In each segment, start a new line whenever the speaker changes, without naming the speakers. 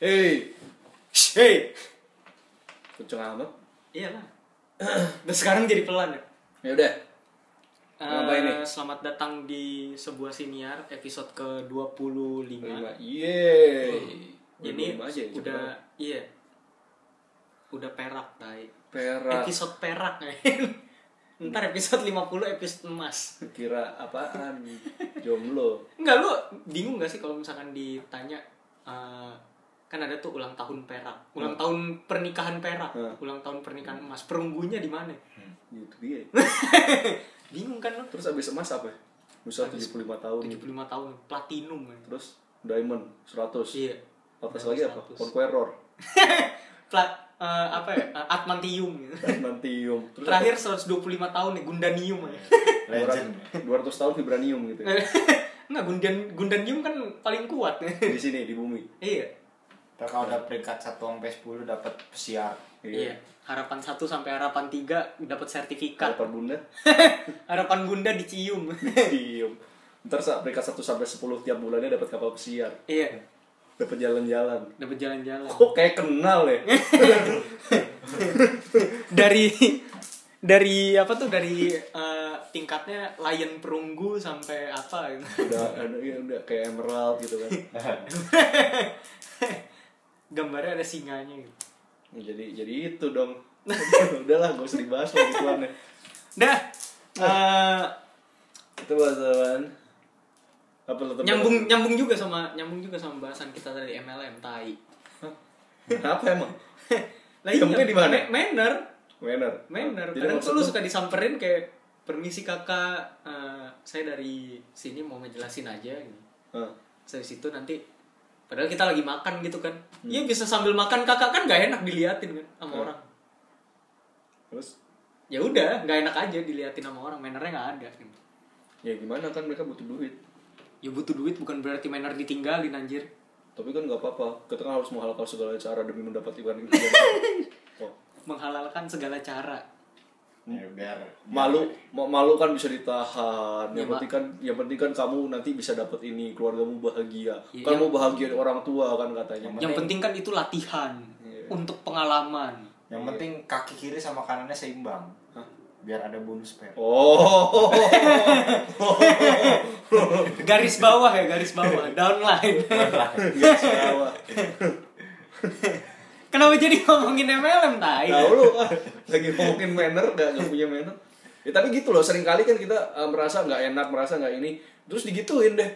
Hei. Shh, Hei. Kenceng amat.
Iya lah. Dan sekarang jadi pelan ya.
Ya udah.
Eh,
Ngapain nih?
Selamat datang di sebuah siniar episode ke-25.
Yeay.
Ini
Belum Iya. aja, cepet
udah
banget.
iya. Udah perak, tai.
perak. Hmm.
Episode perak. men. Ntar episode 50 episode emas.
Kira apaan? Jomblo.
Enggak lu bingung gak sih kalau misalkan ditanya eh, kan ada tuh ulang tahun perak, ulang tahun pernikahan perak,
Hmm.
ulang tahun pernikahan emas. Perunggunya di mana?
Gitu dia.
Bingung kan lu?
Terus abis emas apa? Nusa 75 tahun.
75 tahun platinum. men.
Terus diamond 100.
Iya.
Atas lagi apa?
100.
Conqueror.
Plat eh, apa ya? Eh, Atmantium gitu.
Nantium. Terus
Terakhir 125 tahun nih Gundanium ya.
Legend. 200 tahun vibranium gitu. ya.
Enggak Gundan Gundanium kan paling kuat ya.
di sini di bumi.
Iya.
Ntar
ya.
kalau udah peringkat 1 sampai 10 dapat pesiar.
Iya. Harapan 1 sampai harapan 3 dapat sertifikat.
Kata bunda.
Harapan Gunda dicium.
Diem. Ntar saat peringkat 1 sampai 10 tiap bulannya dapat kapal pesiar,
iya.
dapat jalan-jalan.
Dapat jalan-jalan.
Kok kayak kenal ya?
Dari dari apa tuh dari eh, tingkatnya lion perunggu sampai apa gitu.
udah ada ya udah kayak emerald gitu kan.
Gambarnya ada singanya gitu.
Jadi jadi itu dong. Udahlah, gak usah dibahas lagi tuannya.
Dah. Eh,
Itu bahasa Apa lo temen?
nyambung nyambung juga sama nyambung juga sama bahasan kita tadi MLM tai.
Hah? Apa emang?
lah
Kampungnya di mana?
Ma- Manner,
Manner.
manner.
Jadi
Kadang
maksud
tuh lu
lu-
suka disamperin kayak permisi kakak, eh, saya dari sini mau ngejelasin aja. Gitu.
Hah.
Terus habis itu nanti padahal kita lagi makan gitu kan. Iya bisa sambil makan kakak kan gak enak diliatin kan sama
Hmm.
orang.
Terus
Ya udah, gak enak aja diliatin sama orang. Mannernya gak ada. Gitu.
ya gimana kan mereka butuh duit.
Ya butuh duit bukan berarti manner ditinggalin anjir.
Tapi kan nggak apa-apa. Kita kan harus menghalalkan segala cara demi mendapatkan itu. Oh.
Menghalalkan segala cara.
Ya, biar
malu ma- malu kan bisa ditahan yang
Iya,
penting kan yang penting kan kamu nanti bisa dapat ini keluargamu bahagia
Iya,
kamu bahagia dari orang tua kan katanya
Yang penting kan itu latihan
Iya.
untuk pengalaman.
Yang penting kaki kiri sama kanannya seimbang. Biar ada bonus pair.
oh
garis bawah ya garis bawah downline
yes, kenapa?
Iya. kenapa jadi ngomongin MLM tai
tahu lu ah, lagi ngomongin manner gak, nggak punya manner ya tapi gitu loh sering kali kan kita eh, merasa nggak enak merasa nggak ini terus digituin deh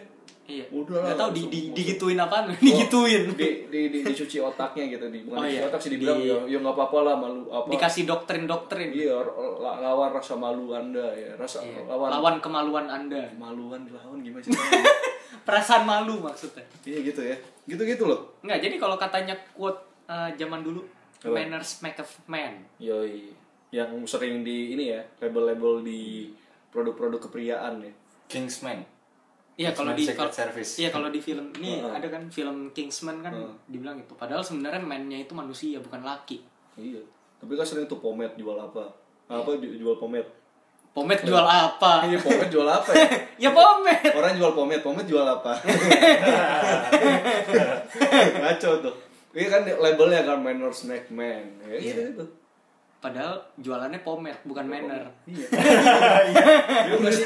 iya
Udah lah,
nggak tahu di,
langsung-
di,
langsung.
digituin apaan digituin
di, di, di- dicuci otaknya gitu di bukan
Oh,
dicuci
iya.
otak sih dibilang
Di-
ya ya nggak apa-apa lah malu apa
dikasih doktrin doktrin
iya or- la- lawan rasa malu anda ya rasa
Iya. lawan,
lawan
kemaluan anda
maluan dilawan gimana sih
perasaan malu maksudnya
iya gitu ya gitu gitu loh
nggak jadi kalau katanya quote eh, zaman dulu
Apa?
manners make a man
yoi yang sering di ini ya label-label di produk-produk kepriaan ya
Kingsman.
Iya kalau di
Kingsman
kalau
Secret Service.
iya kalau di film ini
Heeh.
ada kan film Kingsman kan
Hmm.
dibilang itu padahal sebenarnya man-nya itu manusia bukan laki
iya tapi kan sering tuh pomade jual apa apa ju- jual pomade
pomet jual apa
iya pomade jual apa ya
ya pomet
orang jual pomade pomade jual apa ngaco tuh iya kan labelnya kan minor snack man ya gitu gitu
Padahal jualannya pomet, bukan manner.
Iya. Iya, bener sih.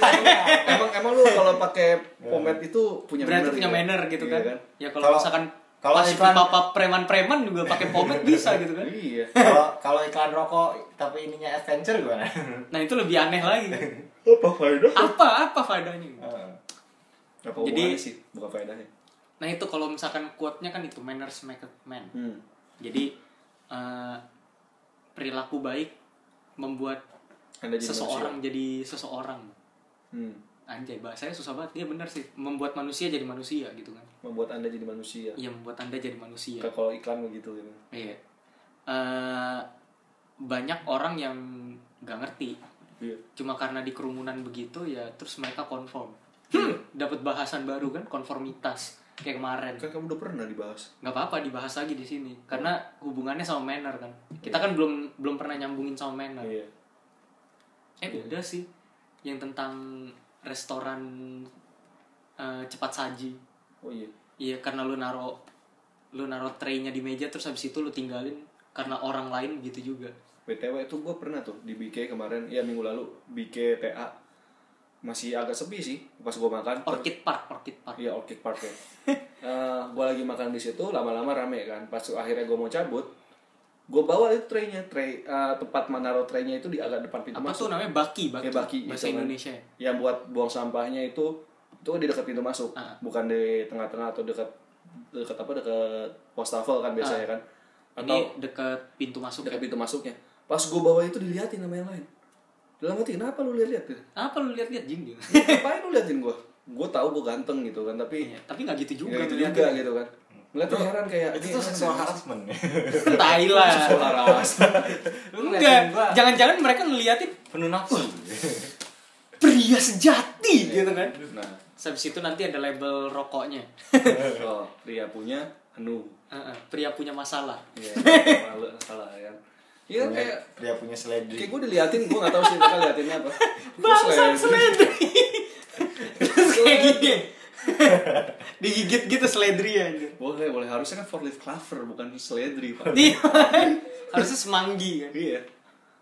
emang emang lu kalau pakai pomade itu punya manner
Berarti punya
gitu ya?
manner gitu
Iya
kan. Ya kalau
Kalau-
misalkan
kalau
pas
iklan-
papa preman-preman juga pakai pomet bisa gitu kan.
Iya.
Kalau kalau iklan rokok tapi ininya adventure gimana?
Nah, itu lebih aneh lagi.
Apa faedah?
Apa apa faedahnya?
Apa
Jadi-
hubungannya sih? Bukan faedahnya.
Nah, itu kalau misalkan quote-nya kan itu manners make a man.
Hmm.
Jadi eh, perilaku baik membuat
Anda jadi
seseorang jadi seseorang.
manusia. Hmm.
Anjay, bahasanya susah banget. Dia bener sih, membuat manusia jadi manusia gitu kan.
Membuat Anda jadi manusia.
Iya, membuat Anda jadi manusia.
Kayak kalau iklan begitu gitu.
Iya. Eh, banyak orang yang nggak ngerti.
Iya.
Cuma karena di kerumunan begitu ya terus mereka konform. Dapat bahasan baru kan konformitas kayak kemarin.
Kan kamu udah pernah dibahas.
Nggak apa-apa dibahas lagi di sini karena hubungannya sama manner kan. Kita kan belum belum pernah nyambungin sama manner.
Iya.
Eh udah sih yang tentang restoran eh, cepat saji.
Oh iya.
Iya karena lu naro lu naruh tray-nya di meja terus habis itu lu tinggalin karena orang lain gitu juga
BTW itu gue pernah tuh di BK kemarin, ya minggu lalu BK TA masih agak sepi sih pas gue makan.
orchid park orchid park
Iya Orchid Park ya. Eh, gue lagi makan di situ, lama-lama rame kan. Pas akhirnya gue mau cabut, gue bawa itu traynya, tray eh, tempat menaruh traynya itu di agak depan pintu
apa
masuk.
tuh namanya baki baki,
Ya, baki,
bahasa
gitu kan.
Indonesia ya
Yang buat buang sampahnya itu itu di dekat pintu masuk,
Ah.
bukan di tengah-tengah atau dekat dekat apa dekat wastafel kan biasanya kan. Atau
Ah. ini deket pintu masuk
dekat
ya
pintu masuknya. Pas gue bawa itu diliatin sama yang lain. Dalam hati kenapa lu lihat-lihat? gitu?
Ah, apa lu lihat-lihat jing dia?
Ngapain lu liatin gue? Gue tahu gue ganteng gitu kan, tapi
Iya, tapi nggak gitu
juga
juga tuh
gitu
lihat
juga gitu kan ngeliat tuh heran kayak
itu tuh seksual harassment
tai lah
seksual harass
Lu
enggak
ngeliatin gua.
jangan-jangan mereka ngeliatin
penuh nafsu
Iya,
pria sejati gitu kan
nah
Terus habis itu nanti ada label rokoknya
oh, pria punya anu
Heeh, pria punya masalah
ya malu salah ya iya kan kayak
dia punya
kayak
seledri
gue diliatin gue nggak tahu sih mereka liatinnya apa Gua
Bangsat
selesai.
seledri. Terus kayak gini. Digigit gitu seledri ya.
boleh boleh harusnya kan forklift cover bukan seledri pak
Iya. Harusnya semanggi kan.
iya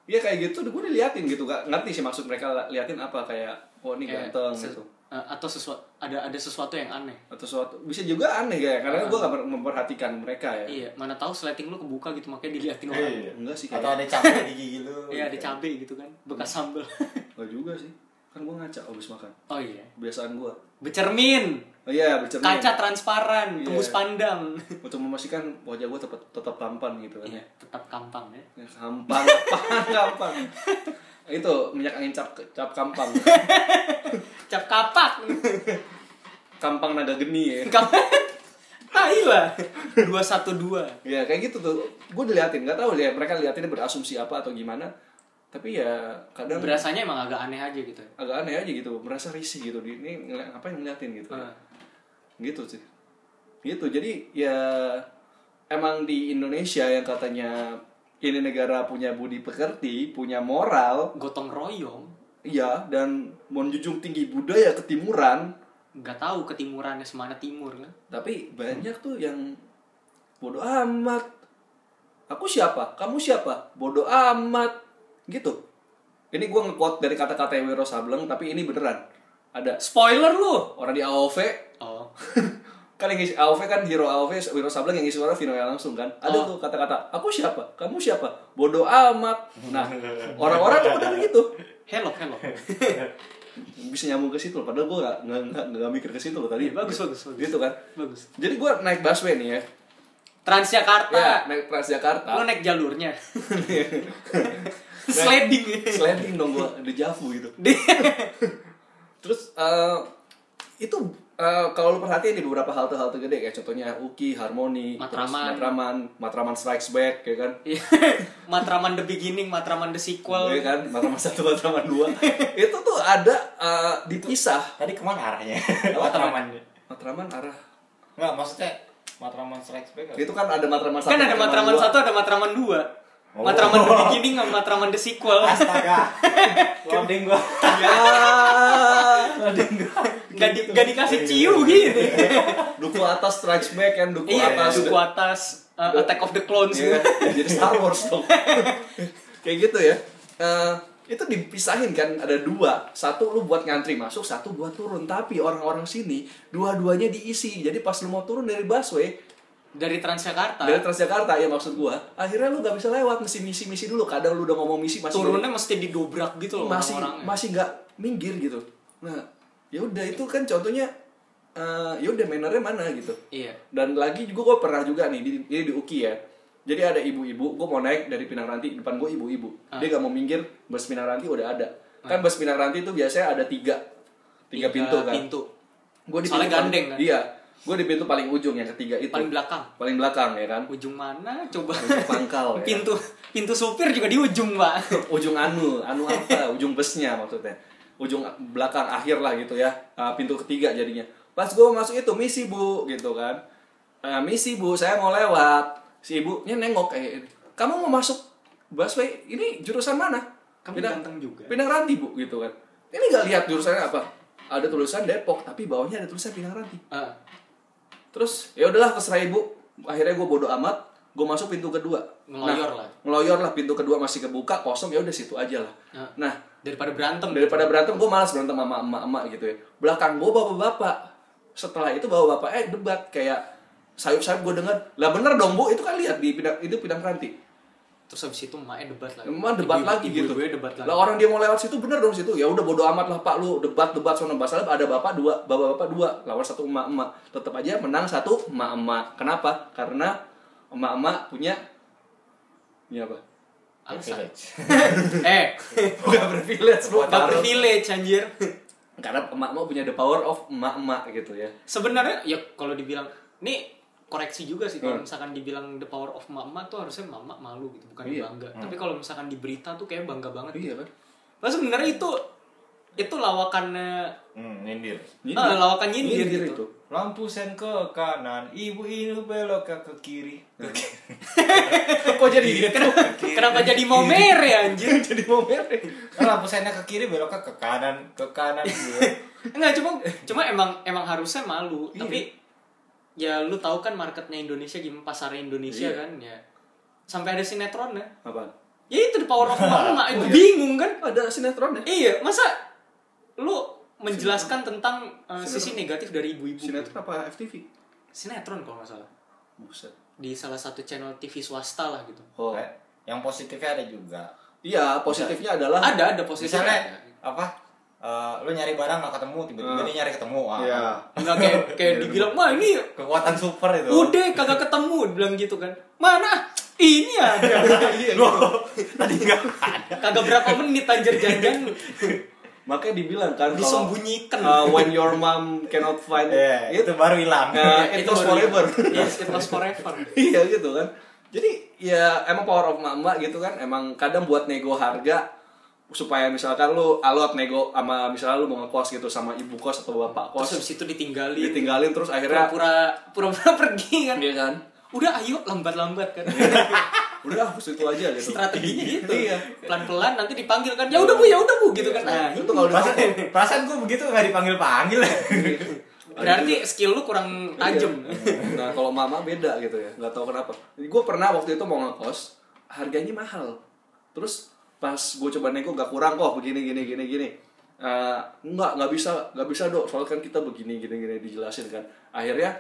iya kayak gitu gue diliatin gitu gak ngerti sih maksud mereka liatin apa kayak oh ini
Kayak
ganteng
se-
gitu
eh, atau sesuatu ada ada sesuatu yang aneh.
atau suatu bisa juga aneh kayak karena gue gak memperhatikan mereka ya
Iya, mana tahu sleting lu kebuka gitu makanya diliatin orang.
Iya.
Enggak sih,
atau ada capek di gigi lu
Iya, ada cabe gitu kan, bekas
Hmm.
sambel.
Gak juga sih kan gue ngaca habis makan
Oh iya.
kebiasaan gue
Becermin,
Oh iya, bercermin.
kaca transparan,
Iya.
tembus pandang.
Untuk memastikan wajah gue tetap tetap tampan gitu kan.
Iya, tetap kampang ya.
Ya, Kampang, kampang, kampang. Itu minyak angin cap cap kampang.
Cap kapak.
Kampang naga geni ya.
Tai lah. 212.
Ya kayak gitu tuh. Gue diliatin, nggak tahu ya mereka liatin berasumsi apa atau gimana. Tapi ya kadang
Berasanya emang agak aneh aja gitu. ya.
agak aneh aja gitu, merasa risih gitu. Di- Ini ngeliat, apa yang ngeliatin gitu.
Heeh.
gitu sih gitu jadi ya emang di Indonesia yang katanya ini negara punya budi pekerti punya moral
gotong royong
ya dan menjunjung tinggi budaya ketimuran
nggak tahu ketimurannya semana timur kan
tapi banyak tuh yang bodoh amat aku siapa kamu siapa bodoh amat gitu ini gue nge-quote dari kata-kata Wiro Sableng tapi ini beneran ada
spoiler lu
orang di AOV
oh
kan yang ngisi AOV kan hero AOV Wiro Sableng yang ngisi suara Vino ya langsung kan ada tuh
Oh.
kata-kata aku siapa kamu siapa bodoh amat nah orang-orang tuh benar gitu
hello hello
bisa nyambung ke situ loh. padahal gue gak, nggak nggak nggak mikir ke situ loh tadi
Iya, bagus, bagus, bagus.
gitu kan
bagus
jadi gue naik busway nih ya ya
Transjakarta
naik
lu
Transjakarta
naik jalurnya sliding
sliding dong gue di Javu gitu
Di-
terus eh, itu eh, kalau lu perhatiin di beberapa halte-halte gede kayak contohnya Uki, Harmoni, terus
Matraman.
Matraman, Matraman Strikes Back ya kan.
Iya. Matraman the beginning Matraman the sequel
Iya kan Matraman satu Matraman dua itu tuh ada eh, dipisah
tadi kemana arahnya
Oh,
matraman
Matraman arah
nggak maksudnya matraman strikes back
itu kan ada Matraman satu
kan ada Matraman
dua.
satu ada Matraman dua
Oh.
Matraman the beginning sama Matraman the sequel
astaga loading gua
ya
loading gua
nggak di- nggak
Iya.
dikasih ciu gitu
duku atas strikes back kan duku
iya
atas
duku atas uh, Attack of the Clones gitu.
Iya kan? jadi Star Wars dong kayak gitu ya Eh, itu dipisahin kan ada dua satu lu buat ngantri masuk satu buat turun tapi orang-orang sini dua-duanya diisi jadi pas lu mau turun dari busway
dari Transjakarta
dari Transjakarta ya maksud gua akhirnya lu gak bisa lewat mesti misi misi dulu kadang lu udah ngomong misi masih
turunnya mesti didobrak gitu loh
masih
orang-orangnya.
masih nggak minggir gitu nah ya udah itu kan contohnya eh ya udah mannernya mana gitu
iya
dan lagi juga gue pernah juga nih di, ini di Uki ya jadi ada ibu-ibu gue mau naik dari Pinang Ranti depan gue ibu-ibu
Ah.
dia gak mau minggir bus Pinang Ranti udah ada kan bus Pinang Ranti itu biasanya ada tiga tiga, pintu kan gue di pintu
Soalnya
paling-
gandeng kan?
iya gue di pintu paling ujung yang ketiga itu
paling belakang
paling belakang ya kan
ujung mana coba
Ujung pangkal, ya.
pintu pintu supir juga di ujung pak
ujung anu anu apa ujung busnya maksudnya ujung belakang akhir lah gitu ya Ah, pintu ketiga jadinya pas gue masuk itu misi bu gitu kan "Eh, misi bu saya mau lewat si ibunya nengok kayak kamu mau masuk busway ini jurusan mana
Kamu ganteng juga."
Pinang Ranti bu gitu kan ini nggak lihat jurusannya apa ada tulisan Depok tapi bawahnya ada tulisan Pinang Ranti
Ah,
terus ya udahlah terserah ibu akhirnya gue bodo amat gue masuk pintu kedua
Ngeloyor
Nah,
lah.
ngeloyor lah pintu kedua masih kebuka kosong ya udah situ aja lah
Nah,
nah
daripada berantem
daripada berantem gue malas berantem sama emak emak gitu ya belakang gue bapak bapak setelah itu bawa bapak eh debat kayak sayup sayup gue dengar lah bener dong bu itu kan lihat di pidang itu pidang ranti
terus habis itu emaknya debat lagi
Emang debat
Ibu-ibu-
lagi gitu.
ibu-ibunya debat lagi
Lah orang dia mau lewat situ bener dong situ. Ya udah bodo amat lah Pak lu debat-debat sono masalah ada bapak dua, bapak-bapak dua lawan satu emak-emak. Tetap aja menang satu emak-emak. Kenapa? Karena emak-emak punya punya apa?
alasan eh
Bukan privilege lu.
gak privilege anjir
Karena emak-emak punya the power of emak-emak gitu ya.
sebenarnya ya kalau dibilang nih koreksi juga sih kalau
Hmm.
misalkan dibilang the power of mama tuh harusnya mama malu gitu bukan
Iya.
bangga tapi kalau misalkan di berita tuh kayak bangga banget
Iya kan?
Nah, sebenarnya itu itu lawakannya
Hmm, nyindir.
Ini
Ah, lawakan nyindir gitu.
itu.
Lampu sen ke kanan, ibu ini belok ke, ke kiri.
Kok jadi gitu?
kenapa jadi mau mere anjir
jadi mau merek.
Kan lampu sennya ke kiri belok ke, ke kanan, ke kanan gitu.
enggak cuma cuma emang emang harusnya malu
Iya.
tapi ya lu tahu kan marketnya Indonesia gimana pasar Indonesia
Iya.
kan ya sampai ada sinetronnya
Apaan?
ya itu the power of mama
Iya.
itu bingung kan
Ada sinetron ya?
Iya, masa lu menjelaskan tentang uh, sisi negatif dari ibu-ibu?
Sinetron apa FTV?
Sinetron kalau nggak salah.
Buset.
Di salah satu channel TV swasta lah gitu.
Oh.
Eh, Yang positifnya ada juga.
Iya, positifnya adalah
Ada, ada posisi.
Misalnya apa? eh, lu nyari barang gak ketemu, tiba-tiba
Hmm.
dia nyari ketemu. Ah.
Nggak kayak, kayak
Iya,
dibilang, mah ini
Kekuatan super itu.
udah kagak ketemu. Bilang gitu kan. Mana? Ini ada.
Iya, gitu.
Loh, tadi enggak
Ya, kagak berapa menit anjir janjian.
Makanya dibilang kan kalau,
Disembunyikan.
uh, when your mom cannot find
Iya,
it,
itu baru hilang.
uh, it was
baru-
forever.
Yes, it was forever.
iya gitu kan. Jadi ya emang power of mama gitu kan. Emang kadang buat nego harga supaya misalkan lu alot nego sama misalnya lu mau ngekos gitu sama ibu kos atau bapak
Terus Iya.
kos
habis itu ditinggalin.
ditinggalin terus akhirnya
Pura-pura pura-pura pergi kan.
dia kan
Udah ayo lambat-lambat kan.
udah hapus itu aja gitu
strateginya gitu
Iya.
pelan-pelan nanti dipanggil kan ya udah bu ya udah bu gitu kan nah
itu kalau udah
Perasaan, perasaan gue begitu gak dipanggil-panggil.
berarti skill lu kurang tajam
nah kalau mama beda gitu ya nggak tahu kenapa gue pernah waktu itu mau ngekos harganya mahal terus pas gue coba nego gak kurang kok begini gini gini gini Eh, nggak nggak bisa nggak bisa dok soalnya kan kita begini gini gini dijelasin kan akhirnya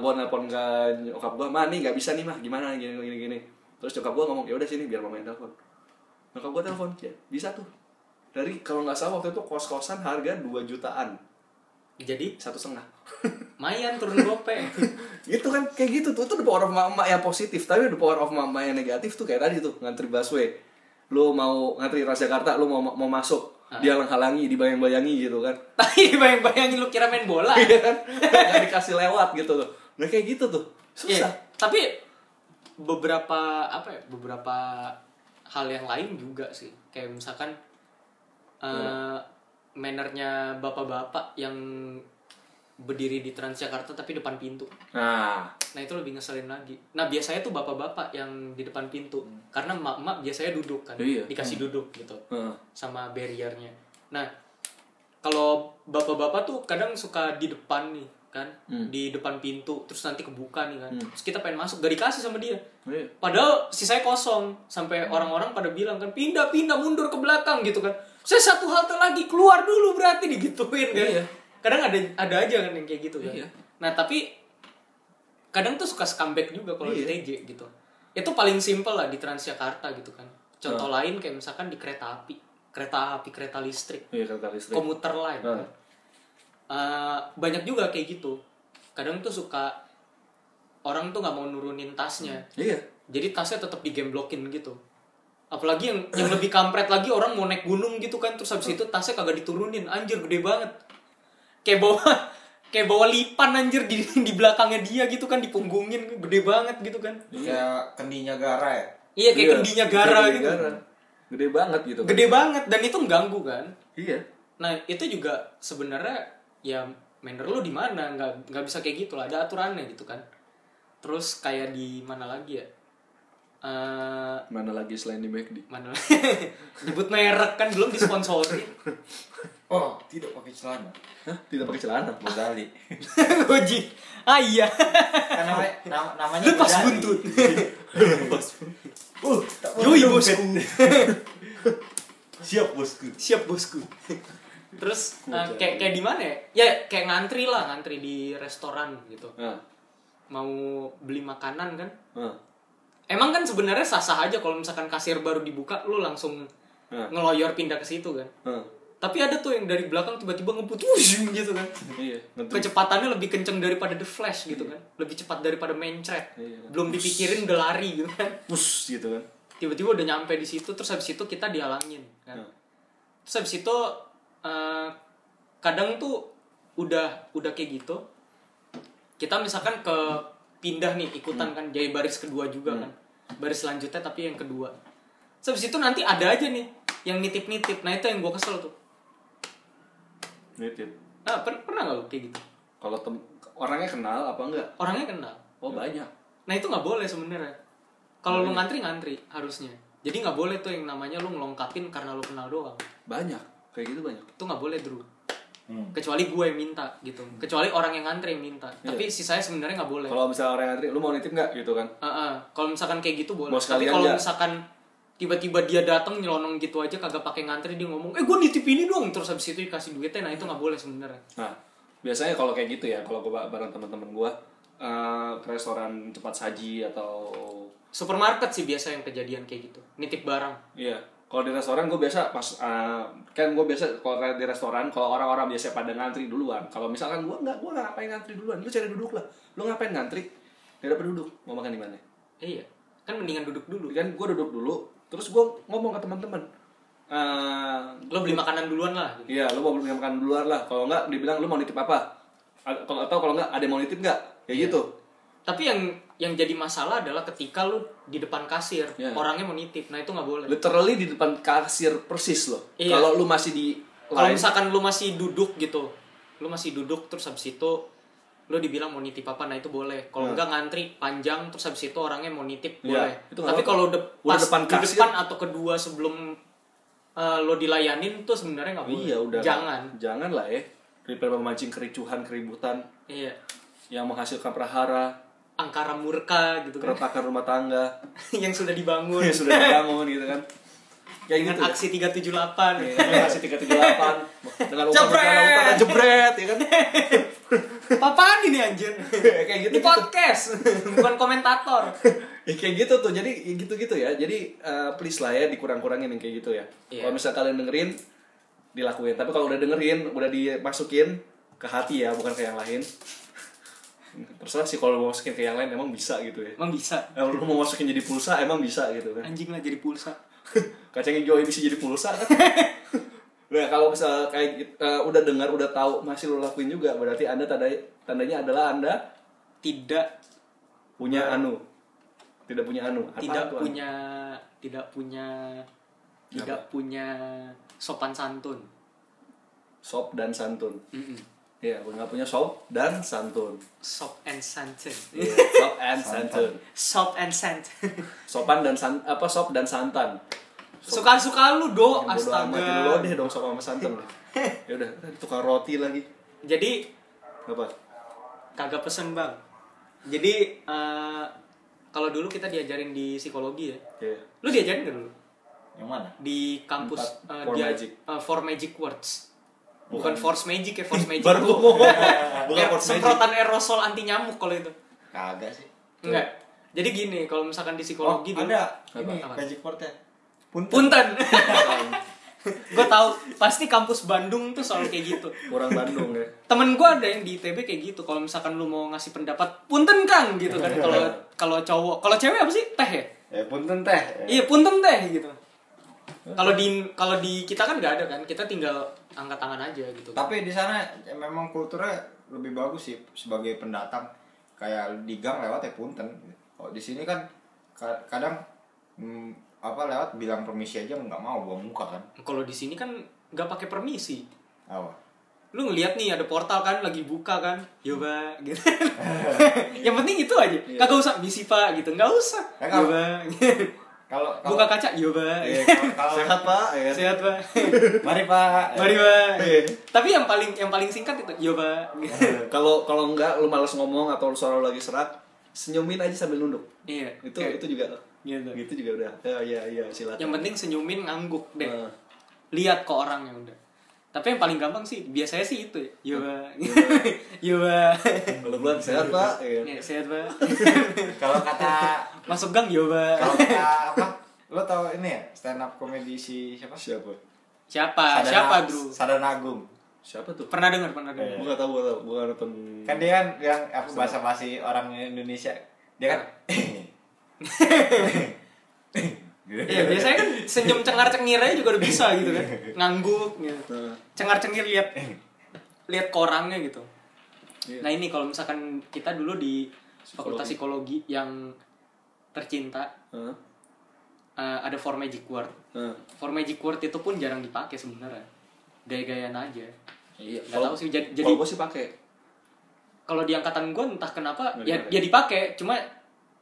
gue nelpon ke nyokap gue mah nih nggak bisa nih mah gimana gini gini gini terus nyokap gue ngomong ya udah sini biar mama yang telepon nyokap gue telepon ya bisa tuh dari kalau nggak salah waktu itu kos kosan harga 2 jutaan
jadi
satu setengah
mayan turun gope
itu kan kayak gitu tuh itu the power of mama yang positif tapi the power of mama yang negatif tuh kayak tadi tuh ngantri busway lu mau ngantri Transjakarta lu mau mau masuk
Ah.
dia halangi dibayang-bayangi gitu kan
tapi bayang-bayangin lu kira main bola
Iya kan Nggak dikasih lewat gitu tuh nah kayak gitu tuh
Iya,
susah
tapi beberapa apa ya beberapa hal yang lain juga sih kayak misalkan
Iya.
eh mannernya bapak-bapak yang berdiri di Transjakarta tapi depan pintu
nah
Nah itu lebih ngeselin lagi. Nah biasanya tuh bapak-bapak yang di depan pintu, karena emak-emak biasanya duduk kan,
Hmm. Iya.
dikasih duduk gitu,
Heeh.
sama barriernya. Nah kalau bapak-bapak tuh kadang suka di depan nih kan, di depan pintu, terus nanti kebuka nih kan, terus kita pengen masuk, gak dikasih sama dia.
Iya.
Padahal sisanya kosong, sampai orang-orang pada bilang kan pindah pindah mundur ke belakang gitu kan. Saya satu halte lagi keluar dulu berarti digituin kan.
Iya.
Kadang ada ada aja kan yang kayak gitu kan.
Iya.
Nah tapi kadang tuh suka comeback juga kalau
Iya.
di TJ gitu. Itu paling simpel lah di Transjakarta gitu kan. Contoh lain kayak misalkan di kereta api, kereta api, kereta listrik,
iya kereta listrik
komuter lain.
Nah.
Eh, banyak juga kayak gitu. Kadang tuh suka orang tuh nggak mau nurunin tasnya
iya
jadi tasnya tetap digemblokin gitu apalagi yang yang lebih kampret lagi orang mau naik gunung gitu kan terus habis itu tasnya kagak diturunin anjir gede banget kayak bawa kayak bawa lipan anjir di di belakangnya dia gitu kan dipunggungin gede banget gitu kan
Kayak kendinya gara ya.
iya kayak
Iya.
kendinya gara
Kayak
gitu
gara. gede banget gitu kan
gede banget dan itu mengganggu kan
iya
nah itu juga sebenarnya ya manner lu di mana nggak nggak bisa kayak gitu lah ada aturannya gitu kan terus kayak di mana lagi ya Eh,
mana lagi selain di McD
mana nyebut merek kan belum disponsori
Oh, tidak pakai celana.
Hah? Tidak pakai celana.
Gozali.
Goji. Ah iya.
Kan namanya nama- namanya
Lepas
Gozali.
buntut.
Uh, tak boleh
Yoi
dompet.
bosku.
Siap bosku.
Siap bosku. Terus eh, kayak kayak di mana ya? Ya kayak ngantri lah, ngantri di restoran gitu.
Nah,
Mau beli makanan kan?
nah,
Emang kan sebenarnya sah-sah aja kalau misalkan kasir baru dibuka lu langsung
Hmm.
ngeloyor pindah ke situ kan.
nah.
Tapi ada tuh yang dari belakang tiba-tiba ngebut wushung gitu kan.
Iya, ngetrit.
Kecepatannya lebih kenceng daripada The Flash gitu kan. Lebih cepat daripada mencret.
Iya.
Belum dipikirin udah lari gitu kan.
Push gitu kan.
Tiba-tiba udah nyampe di situ terus habis itu kita dihalangin kan.
Hmm.
Terus habis itu eh, kadang tuh udah udah kayak gitu. Kita misalkan ke pindah nih
Hmm.
ikutan kan jadi baris kedua juga kan. Baris selanjutnya tapi yang kedua. Terus habis itu nanti ada aja nih yang nitip-nitip. Nah, itu yang gua kesel tuh.
Nitip.
Nah, per- pernah nggak lo kayak gitu?
Kalau tem orangnya kenal apa enggak?
Orangnya kenal.
Oh, banyak.
Nah itu nggak boleh sebenarnya. Kalau lu ngantri ngantri harusnya. Jadi nggak boleh tuh yang namanya lu ngelongkatin karena lu kenal doang.
Banyak. Kayak gitu banyak.
Itu nggak boleh Drew.
Hmm.
Kecuali gue yang minta gitu. Kecuali orang yang ngantri yang minta. Tapi sisanya sebenarnya nggak boleh.
Hmm. Iya. Kalau misalnya orang ngantri, lu mau nitip nggak gitu kan?
Heeh. Kalau misalkan kayak gitu boleh.
Mau
Tapi
sekalian
kalau
nggak?
misalkan tiba-tiba dia datang nyelonong gitu aja kagak pakai ngantri dia ngomong eh gue nitip ini dong terus habis itu dikasih duitnya nah itu nggak boleh sebenarnya
Nah, biasanya kalau kayak gitu ya, kalau gua bareng teman-teman gua eh, ke restoran cepat saji atau
supermarket sih biasa yang kejadian kayak gitu nitip barang
iya. Kalau di restoran gue biasa pas eh, kan gue biasa kalau kayak di restoran kalau orang-orang biasa pada ngantri duluan. Kalau misalkan gua nggak, gua nggak ngapain ngantri duluan. Lu cari duduk lah. Lu ngapain ngantri? Gak dapet duduk. Mau makan di mana?
eh, iya kan mendingan duduk dulu
Kan gue duduk dulu. Terus gue ngomong ke teman-teman. Eh,
lo beli makanan duluan lah gitu.
Iya, lu mau beli makan di luar lah. Kalau enggak dibilang lu mau nitip apa? A- Kalau atau kalau enggak ada yang mau nitip enggak? Ya
Iya.
gitu.
Tapi yang yang jadi masalah adalah ketika lu di depan kasir,
Iya.
orangnya mau nitip. Nah, itu nggak boleh.
Literally di depan kasir persis loh.
Iya.
Kalau lu masih di
Kalau
line
misalkan lu masih duduk gitu, lu masih duduk terus habis itu lu dibilang mau nitip apa, nah itu
Ya.
boleh. Kalau nggak ngantri panjang terus habis itu orangnya mau
Iya,
nitip boleh.
itu nggak
Tapi
apa-apa.
kalau de
Udah
pas
depan
di
kasir.
depan atau kedua sebelum eh, lo dilayanin tuh sebenarnya nggak boleh.
Iya, udah.
Jangan.
Jangan lah ya. Daripada memancing kericuhan, keributan
Iya.
yang menghasilkan prahara,
Angkara murka gitu kan.
keretakan rumah tangga
yang sudah dibangun
yang sudah dibangun gitu kan. Kayak
dengan
gitu. ya.
aksi 378.
Iya, dengan aksi 338 dengan umpan
Jebret!
jebret, jebret ya kan.
Papaan ini anjir?
Kayak gitu,
Ini podcast, bukan komentator.
ya kayak gitu tuh jadi ya gitu-gitu ya jadi eh, please lah ya dikurang-kurangin yang kayak gitu ya
Iya.
kalau misal kalian dengerin dilakuin tapi kalau udah dengerin udah dimasukin ke hati ya bukan ke yang lain terserah sih kalau mau masukin ke yang lain emang bisa gitu ya
Emang bisa?
kalau lu mau masukin jadi pulsa emang bisa gitu kan
Anjing lah jadi pulsa.
kacang hijau bisa jadi pulsa kan nah kalau misal kayak gitu, eh, udah dengar udah tahu masih lu lakuin juga berarti anda tanda tandanya adalah anda
Tidak,
punya anu tidak punya anu Apaan
Nah. tidak
tuh anu?
punya, tidak punya, tidak punya sopan santun.
sop dan santun
Mm-mm.
Iya, gue nggak punya sop dan santun.
Sop and santun.
Iya, sop and santun.
Sop and santun.
Sopan dan san, apa sop dan santan.
Suka-suka lu do,
Yang bodo amat itu lo
Oh, astaga.
deh dong sop sama santan. ya udah, tukar roti lagi.
Jadi
Apa?
kagak pesen bang. Jadi eh, kalau dulu kita diajarin di psikologi ya.
Iya.
Lu diajarin gak dulu?
Yang mana?
di kampus
Empat,
eh,
four
dia
magic.
eh, four magic words bukan force magic ya force magic
Baru
itu
gue ngomong. Bukan
air-
force magic.
semprotan aerosol anti nyamuk kalau itu
Kagak sih.
enggak jadi gini kalau misalkan di
Oh,
psikologi dulu-
ada ini
Apa?
magic portnya. Punten.
punten gue tahu pasti kampus Bandung tuh soal kayak gitu
Orang Bandung ya.
temen gue ada yang di ITB kayak gitu kalau misalkan lu mau ngasih pendapat punten kang gitu
Iya.
kan kalau kalau cowok kalau cewek apa sih teh ya
Eh, punten teh.
Iya punten teh gitu. Kalau di kalau di kita kan nggak ada kan, kita tinggal angkat tangan aja gitu.
Tapi di sana ya, memang kulturnya lebih bagus sih sebagai pendatang. Kayak di gang lewat ya punten. Oh, di sini kan ka- kadang hmm, apa lewat bilang permisi aja nggak mau buang muka kan.
Kalau di sini kan nggak pakai permisi.
Apa?
Lu ngeliat nih ada portal kan lagi buka kan, coba gitu. Yang penting itu aja. Kagak usah misi pak gitu, nggak usah.
Ya, nggak-
Coba.
Kalau kalau-
buka kaca iya pak
Iya, kalau- kalau
Sehat pak, ya.
sehat pak
Mari Pak.
mari pak
Iya.
tapi yang paling yang paling singkat itu iya pak
Kalau kalau enggak lu malas ngomong atau suara lu lagi serak, senyumin aja sambil nunduk.
iya
Itu
Kayak
itu juga.
gitu.
Gitu juga udah. Ya ya ya silakan.
yang penting senyumin ngangguk deh
Nah.
lihat ke orangnya udah tapi yang paling gampang sih biasanya sih itu ya iya pak iya pak
Kalau bulan sehat pak, iya.
Iya, sehat pak
Kalau kata
masuk gang iya
kalau
pak
kata apa? Lo tau ini ya stand up komedi si siapa? Ah,
Siapa?
siapa
Sadana-
siapa bro
Sadana Agung.
Siapa tuh?
pernah dengar pernah dengar
Gue gak tau, gue tau, gue gak nonton
Kan dia kan yang apa bahasa basi orang Indonesia. Dia kan
Iya, biasanya kan senyum cengar cengir aja juga udah bisa gitu kan. Ngangguk gitu.
Nah,
Cengar cengir lihat lihat ke orangnya gitu.
Iya.
Nah, ini kalau misalkan kita dulu di Fakultas Psikologi yang tercinta
Hah?
eh, ada four magic word.
Hah?
Four magic word itu pun jarang dipakai sebenarnya. Gaya-gayaan aja.
Iya,
Nggak tahu sih, jadi-
Kalau
jadi-
gue sih pakai.
Kalau di angkatan gue entah kenapa
Nggak
ya
dipakai.
ya dipakai, cuma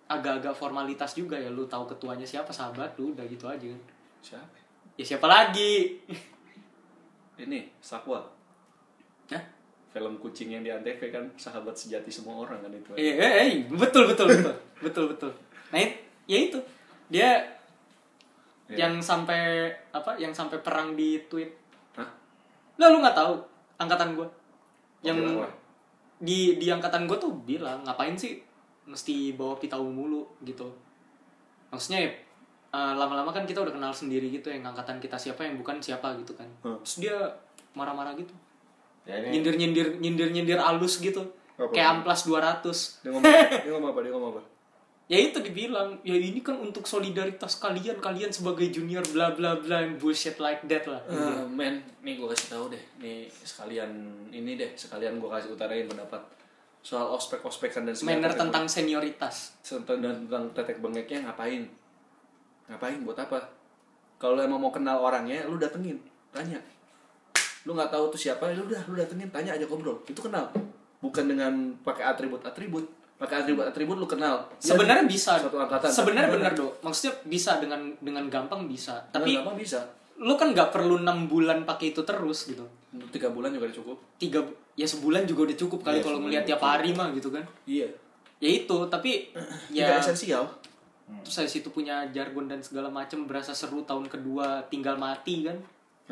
agak-agak formalitas juga ya lu tahu ketuanya siapa sahabat lu udah gitu aja kan.
Siapa?
Ya siapa lagi?
Ini Sakwa,
Hah?
film kucing yang di Antv kan sahabat sejati semua orang kan itu.
Iya, iya, iya. betul betul betul betul betul. Nah, it- ya itu dia
Iya.
yang sampai apa? Yang sampai perang di tweet.
Hah?
Lah lu nggak tahu angkatan gua. Yang
Bilang apa?
di di angkatan gua tuh bilang ngapain sih mesti bawa pitau mulu gitu. Maksudnya ya, eh, lama-lama kan kita udah kenal sendiri gitu yang angkatan kita siapa yang bukan siapa gitu kan.
Hmm.
Terus dia marah-marah gitu.
Ya, ini-
Nyindir-nyindir nyindir-nyindir alus gitu.
Eh. Apa?
Kayak amplas 200
Dia ngomong, dia ngomong apa? Dia ngomong apa?
ya itu dibilang ya ini kan untuk solidaritas kalian kalian sebagai junior bla bla bla and bullshit like that lah
Eh, men, nih gue kasih tahu deh, nih sekalian ini deh, sekalian gue kasih utarain pendapat soal ospek-ospekan dan segala
manner
tetek-
tentang senioritas
tentang dan tentang tetek bengeknya ngapain? Ngapain buat apa? Kalau lu emang mau kenal orangnya, lu datengin, tanya. Lu nggak tahu tuh siapa, ya udah lu datengin, tanya aja ngobrol. Itu kenal. Bukan dengan pakai atribut-atribut. Pakai atribut-atribut lu kenal. Dia
sebenarnya
di-
bisa
Iya, Satu angkatan.
sebenarnya benar
Bener.
do maksudnya bisa dengan dengan gampang bisa tapi
Bener, gampang bisa.
lu kan nggak perlu enam bulan pakai itu terus gitu
Tiga bulan juga udah cukup.
tiga ya sebulan juga udah cukup kali
Iya,
kalau
sebulan
ngelihat tiap hari mah gitu kan
Iya.
ya itu tapi
Tidak
ya
esensial. Hmm.
terus saya situ punya jargon dan segala macem berasa seru tahun kedua tinggal mati kan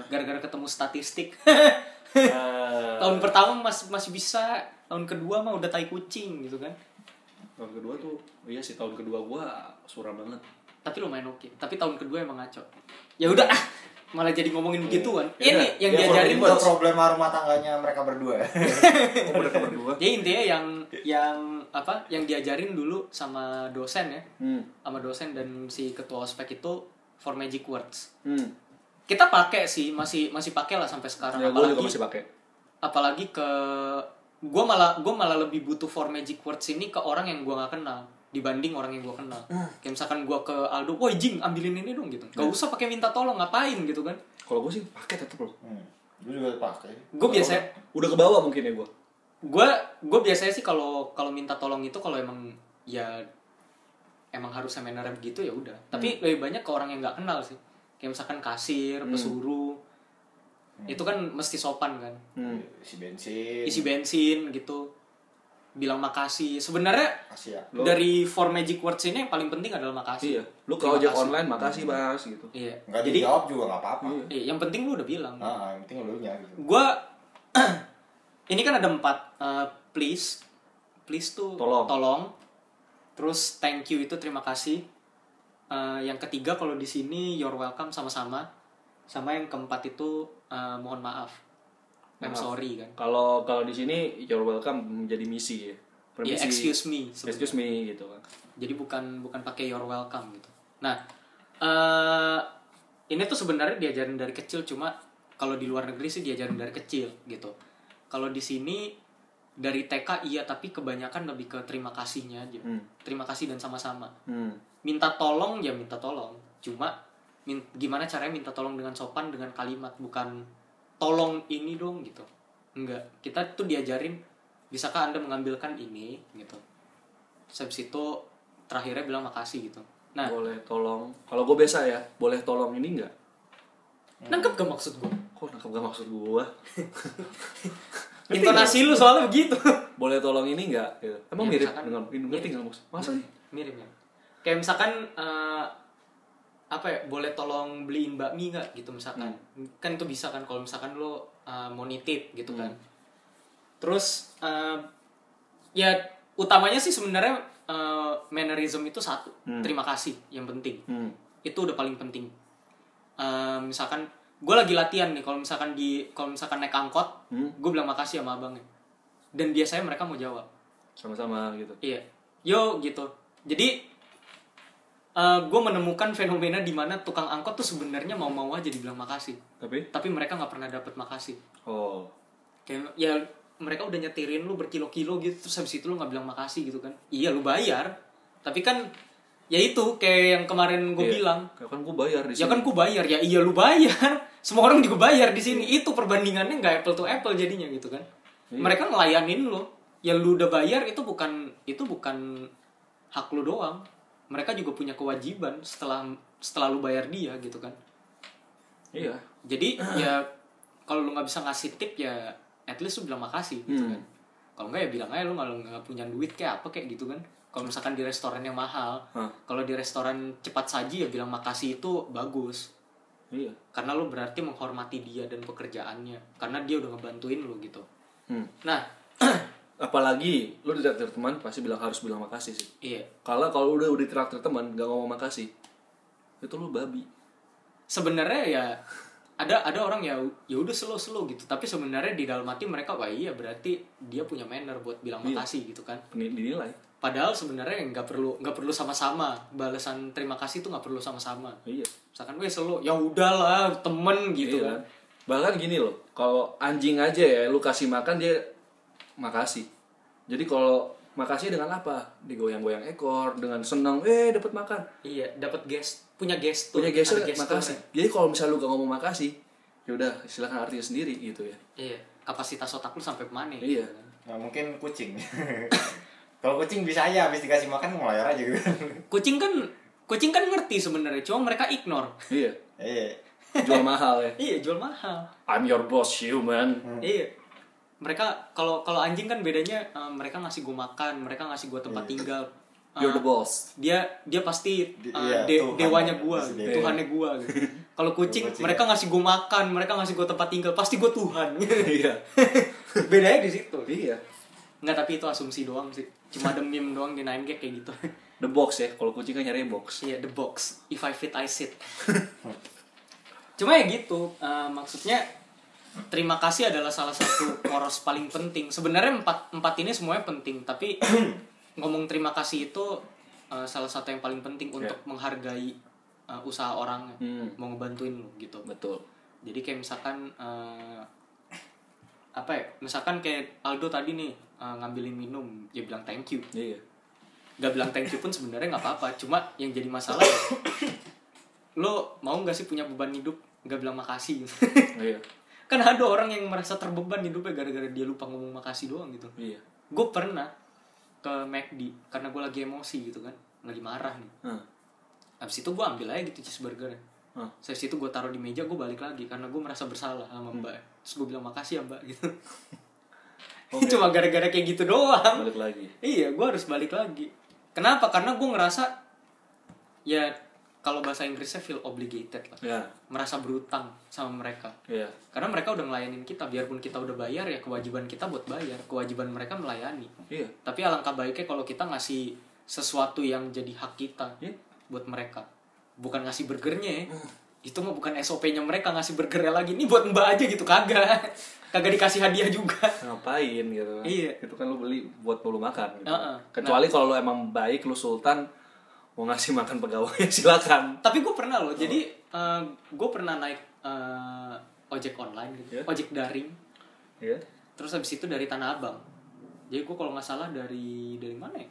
gara-gara ketemu statistik Ya.
Eh,
tahun pertama masih masih bisa tahun kedua mah udah tai kucing gitu kan
tahun kedua tuh, iya sih tahun kedua gua suram banget.
tapi lumayan oke tapi tahun kedua emang ngaco ya udah ah, malah jadi ngomongin begituan
Ya udah,
ini yang
ya
diajarin
forward
Itu
tuh
inbox.
problema rumah tangganya mereka berdua.
Oh, udah kabar dua.
ya intinya yang yang apa yang diajarin dulu sama dosen ya
Hmm.
sama dosen dan si ketua ospek itu for magic words
Hmm.
kita pakai sih masih masih pakai lah sampai sekarang
Ya, gua juga masih pakai.
apalagi ke gue malah gue malah lebih butuh for magic words ini ke orang yang gue nggak kenal dibanding orang yang gue kenal kayak misalkan gue ke Aldo woi Jing ambilin ini dong gitu gak usah pakai minta tolong ngapain gitu kan
Kalau gua sih pakai tetep loh.
Hmm. Gue juga pakai.
gue biasa
udah ke bawah mungkin ya gue
gue gue biasanya sih kalau kalau minta tolong itu kalau emang ya emang harus seminar begitu ya udah tapi lebih banyak ke orang yang nggak kenal sih kayak misalkan kasir pesuruh itu kan mesti sopan kan
Isi bensin.
isi bensin gitu bilang makasih sebenarnya
Kasih ya.
Lo-
dari four magic words ini yang paling penting adalah makasih.
iya lu ke
Terima
ojek
kasih.
online makasih mas gitu
Iya.
Enggak
Jadi
dijawab juga enggak apa-apa.
Iya.
iya, yang penting lu udah bilang.
Nah, yang penting lu nya gitu.
Gua ini kan ada empat Eh, please please tuh
Tolong.
Terus thank you itu terima kasih. Eh, yang ketiga kalau di sini you're welcome sama-sama. Sama yang keempat itu eh, mohon maaf. I'm
Maaf.
sorry kan.
kalau kalau di sini you're welcome menjadi misi ya
Ya excuse me. sebenarnya.
excuse me gitu kan
jadi bukan bukan pakai your welcome gitu nah eh ini tuh sebenarnya diajarin dari kecil cuma kalau di luar negeri sih diajarin dari kecil gitu kalau di sini dari TK iya tapi kebanyakan lebih ke terima kasihnya aja
Hmm.
terima kasih dan sama-sama
hmm.
minta tolong ya minta tolong cuma min- gimana caranya minta tolong dengan sopan dengan kalimat bukan tolong ini dong gitu enggak kita tuh diajarin bisakah anda mengambilkan ini gitu Terus habis itu terakhirnya bilang makasih gitu Nah.
boleh tolong kalau gue biasa ya boleh tolong ini enggak
Nangkep gak maksud gue?
kok nangkep gak maksud gue
Intonasi lu soalnya begitu.
boleh tolong ini enggak gitu. emang
Ya,
mirip
misalkan-
dengan ngerti nggak maksud masa sih
Mirip ya. Kayak misalkan eh, apa ya? Boleh tolong beliin bakmi nggak gitu misalkan. Kan itu bisa kan kalau misalkan lo eh, mau nitip gitu kan. Terus eh, ya utamanya sih sebenarnya eh, mannerism itu satu. Terima kasih yang penting.
hmm.
itu udah paling penting Eh, misalkan gue lagi latihan nih kalau misalkan di kalau misalkan naik angkot
Hmm.
gue bilang makasih sama abangnya dan biasanya mereka mau jawab
sama-sama gitu
iya yo gitu jadi gue menemukan fenomena di mana tukang angkot tuh sebenarnya mau-mau aja dibilang makasih
tapi
tapi mereka nggak pernah dapat makasih
oh
kayak ya mereka udah nyetirin lu berkilo-kilo gitu terus habis itu lu nggak bilang makasih gitu kan iya lu bayar tapi kan ya itu kayak yang kemarin gue
Iya.
bilang
ya kan gue bayar di
Ya
sini
kan ku bayar ya iya lu bayar. Semua orang juga bayar di sini.
Iya.
Itu perbandingannya nggak apple to apple jadinya gitu kan. Mereka ngelayanin lo. Ya lu udah bayar itu bukan itu bukan hak lu doang. Mereka juga punya kewajiban setelah setelah lu bayar dia gitu kan.
iya
Jadi ya kalau lu nggak bisa ngasih tip ya at least lu bilang makasih gitu
Hmm.
kan. Kalau nggak ya bilang aja lu nggak nggak punya duit kayak apa kayak gitu kan. Kalau misalkan di restoran yang mahal,
Hah.
kalau di restoran cepat saji ya bilang makasih itu bagus
iya
karena lo berarti menghormati dia dan pekerjaannya karena dia udah ngebantuin lo gitu
hmm.
nah
apalagi lu ditraktir teman pasti bilang harus bilang makasih sih
iya
kalau kalau udah udah ditraktir teman gak ngomong makasih itu lu babi
sebenarnya ya ada ada orang ya ya udah slow slow gitu tapi sebenarnya di dalam hati mereka wah iya berarti dia punya manner buat bilang
Iya.
makasih gitu kan
Peni- dinilai
padahal sebenarnya nggak perlu nggak perlu sama-sama balasan terima kasih itu nggak perlu sama-sama
iya
misalkan gue slow ya udahlah temen gitu
Iya.
kan
bahkan gini loh kalau anjing aja ya lu kasih makan dia makasih jadi kalau makasih dengan apa digoyang-goyang ekor dengan senang eh dapat makan
iya dapat guest punya gestur
punya
ada
gesture
gesturnya.
makasih jadi kalau misalnya lu gak ngomong makasih ya udah silakan artinya sendiri gitu ya
iya kapasitas otak lu sampai mana
Iya.
gitu kan.
Nah, mungkin kucing. Kalau kucing bisa aja habis dikasih makan ngelayar aja gitu.
kucing kan kucing kan ngerti sebenarnya cuma mereka ignore
iya
Iya.
jual mahal ya
iya jual mahal
I'm your boss human
iya mereka kalau kalau anjing kan bedanya eh, mereka ngasih gue makan mereka ngasih gue tempat tinggal Eh,
you're the boss
dia dia pasti
Di-
eh,
iya,
de-
Tuhan.
dewanya gue
Pasti dewa.
tuhannya gue gitu. kalau kucing
Kucing
mereka ngasih gue makan mereka ngasih gue tempat tinggal pasti gue tuhan
iya
bedanya di situ
iya
nggak tapi itu asumsi doang sih cuma ada meme doang di 9gag kayak gitu
the box ya kalau kucing kan nyari box
Iya, the box. If I fit, I sit. Cuma ya gitu, eh, maksudnya terima kasih adalah salah satu poros paling penting. Sebenarnya empat empat ini semuanya penting, tapi ngomong terima kasih itu eh, salah satu yang paling penting untuk menghargai eh, usaha orangnya,
Hmm.
mau ngebantuin lo gitu.
betul
Jadi kayak misalkan eh, apa ya? Misalkan kayak Aldo tadi nih eh, ngambilin minum, dia bilang thank you
iya
gak bilang thank you pun sebenarnya nggak apa-apa cuma yang jadi masalah ya, lo mau nggak sih punya beban hidup nggak bilang makasih
iya
kan ada orang yang merasa terbeban hidupnya gara-gara dia lupa ngomong makasih doang gitu
iya
gue pernah ke McD karena gue lagi emosi gitu kan lagi marah nih
Hah.
abis itu gue ambil aja gitu cheeseburger
Hah.
Terus itu gue taruh di meja gue balik lagi karena gue merasa bersalah sama mbak terus gue bilang makasih ya mbak gitu
Oke.
cuma gara-gara kayak gitu doang
balik lagi
Iya, gue harus balik lagi. Kenapa? Karena gue ngerasa ya kalau bahasa Inggrisnya feel obligated lah,
ya
merasa berutang sama mereka.
iya
Karena mereka udah ngelayanin kita, biarpun kita udah bayar ya kewajiban kita buat bayar, kewajiban mereka melayani.
iya
Tapi alangkah baiknya kalau kita ngasih sesuatu yang jadi hak kita
Iya.
ya, buat mereka, bukan ngasih burgernya ya. Itu mah bukan SOP-nya mereka ngasih burgernya lagi. Ini buat mbak aja gitu kagak, kagak dikasih hadiah juga.
ngapain gitu kan.
Iya.
itu kan lu beli buat lu makan gitu.
Heeh. Nah.
kecuali kalau lu emang baik lu sultan mau ngasih makan pegawai ya silakan
tapi gue pernah loh jadi
Oh.
gue pernah naik eh, ojek online gitu
Ya.
ojek daring
iya
terus habis itu dari tanah abang jadi gue kalau nggak salah dari dari mana ya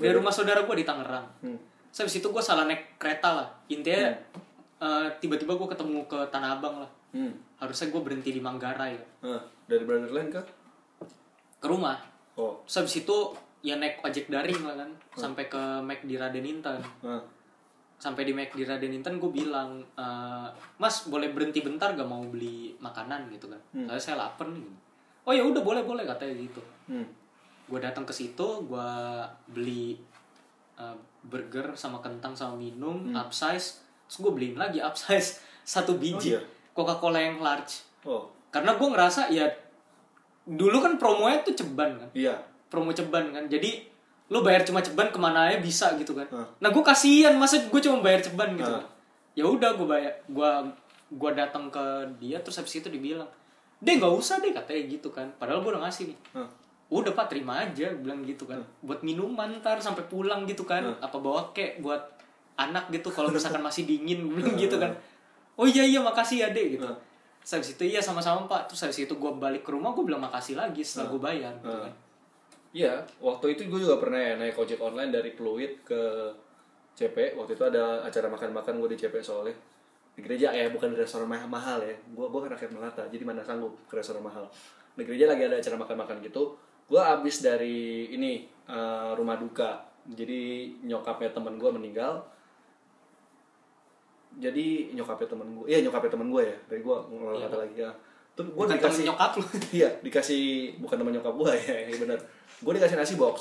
dari rumah saudara gue di Tangerang
Hmm.
terus habis itu gue salah naik kereta lah intinya eh, tiba-tiba gue ketemu ke tanah abang lah
hmm.
harusnya gue berhenti di Manggarai ya.
Hah. dari Brotherland kah
ke rumah
oh Hmm.
terus habis itu ya naik ojek daring lah kan sampai ke Mac di Raden Intan
Hah.
sampai di McD Raden Inten gue bilang "Eh, Mas boleh berhenti bentar gak mau beli makanan gitu kan soalnya saya lapar nih oh ya udah boleh boleh katanya gitu
Hmm.
gue datang ke situ gue beli eh, burger sama kentang sama minum upsize terus gue beliin lagi upsize satu biji
iya?
Coca Cola yang large
Oh,
karena gue ngerasa ya dulu kan promonya tuh ceban kan
iya.
promo ceban kan jadi lu bayar cuma ceban kemana aja bisa gitu kan
Hah.
nah gue kasihan masa gue cuma bayar ceban gitu
Hah.
kan. ya udah gue bayar gue gue datang ke dia terus habis itu dibilang deh nggak usah deh katanya gitu kan padahal gue udah ngasih nih
Hah.
udah pak terima aja gua bilang gitu kan buat minuman ntar sampai pulang gitu kan apa bawa kek buat anak gitu kalau misalkan masih dingin gua bilang gitu kan oh iya iya makasih ya deh gitu Terus habis itu iya sama-sama pak terus habis itu gue balik ke rumah gue bilang makasih lagi setelah gue bayar gitu kan
Iya, waktu itu gue juga pernah ya naik ojek online dari Pluit ke CP. Waktu itu ada acara makan-makan gue di CP soalnya. Di gereja ya, bukan di restoran ma- mahal ya. Gue gue kan rakyat melata, jadi mana sanggup ke restoran mahal. Di gereja lagi ada acara makan-makan gitu. Gue abis dari ini eh, rumah duka. Jadi nyokapnya temen gue meninggal. Jadi nyokapnya temen gue, iya nyokapnya temen gue ya. Dari gue ngelola kata lagi ya. Terus gue
Iya, bukan temen
dikasih
nyokap lu
iya dikasih bukan teman nyokap gue ya iya benar gue dikasih nasi box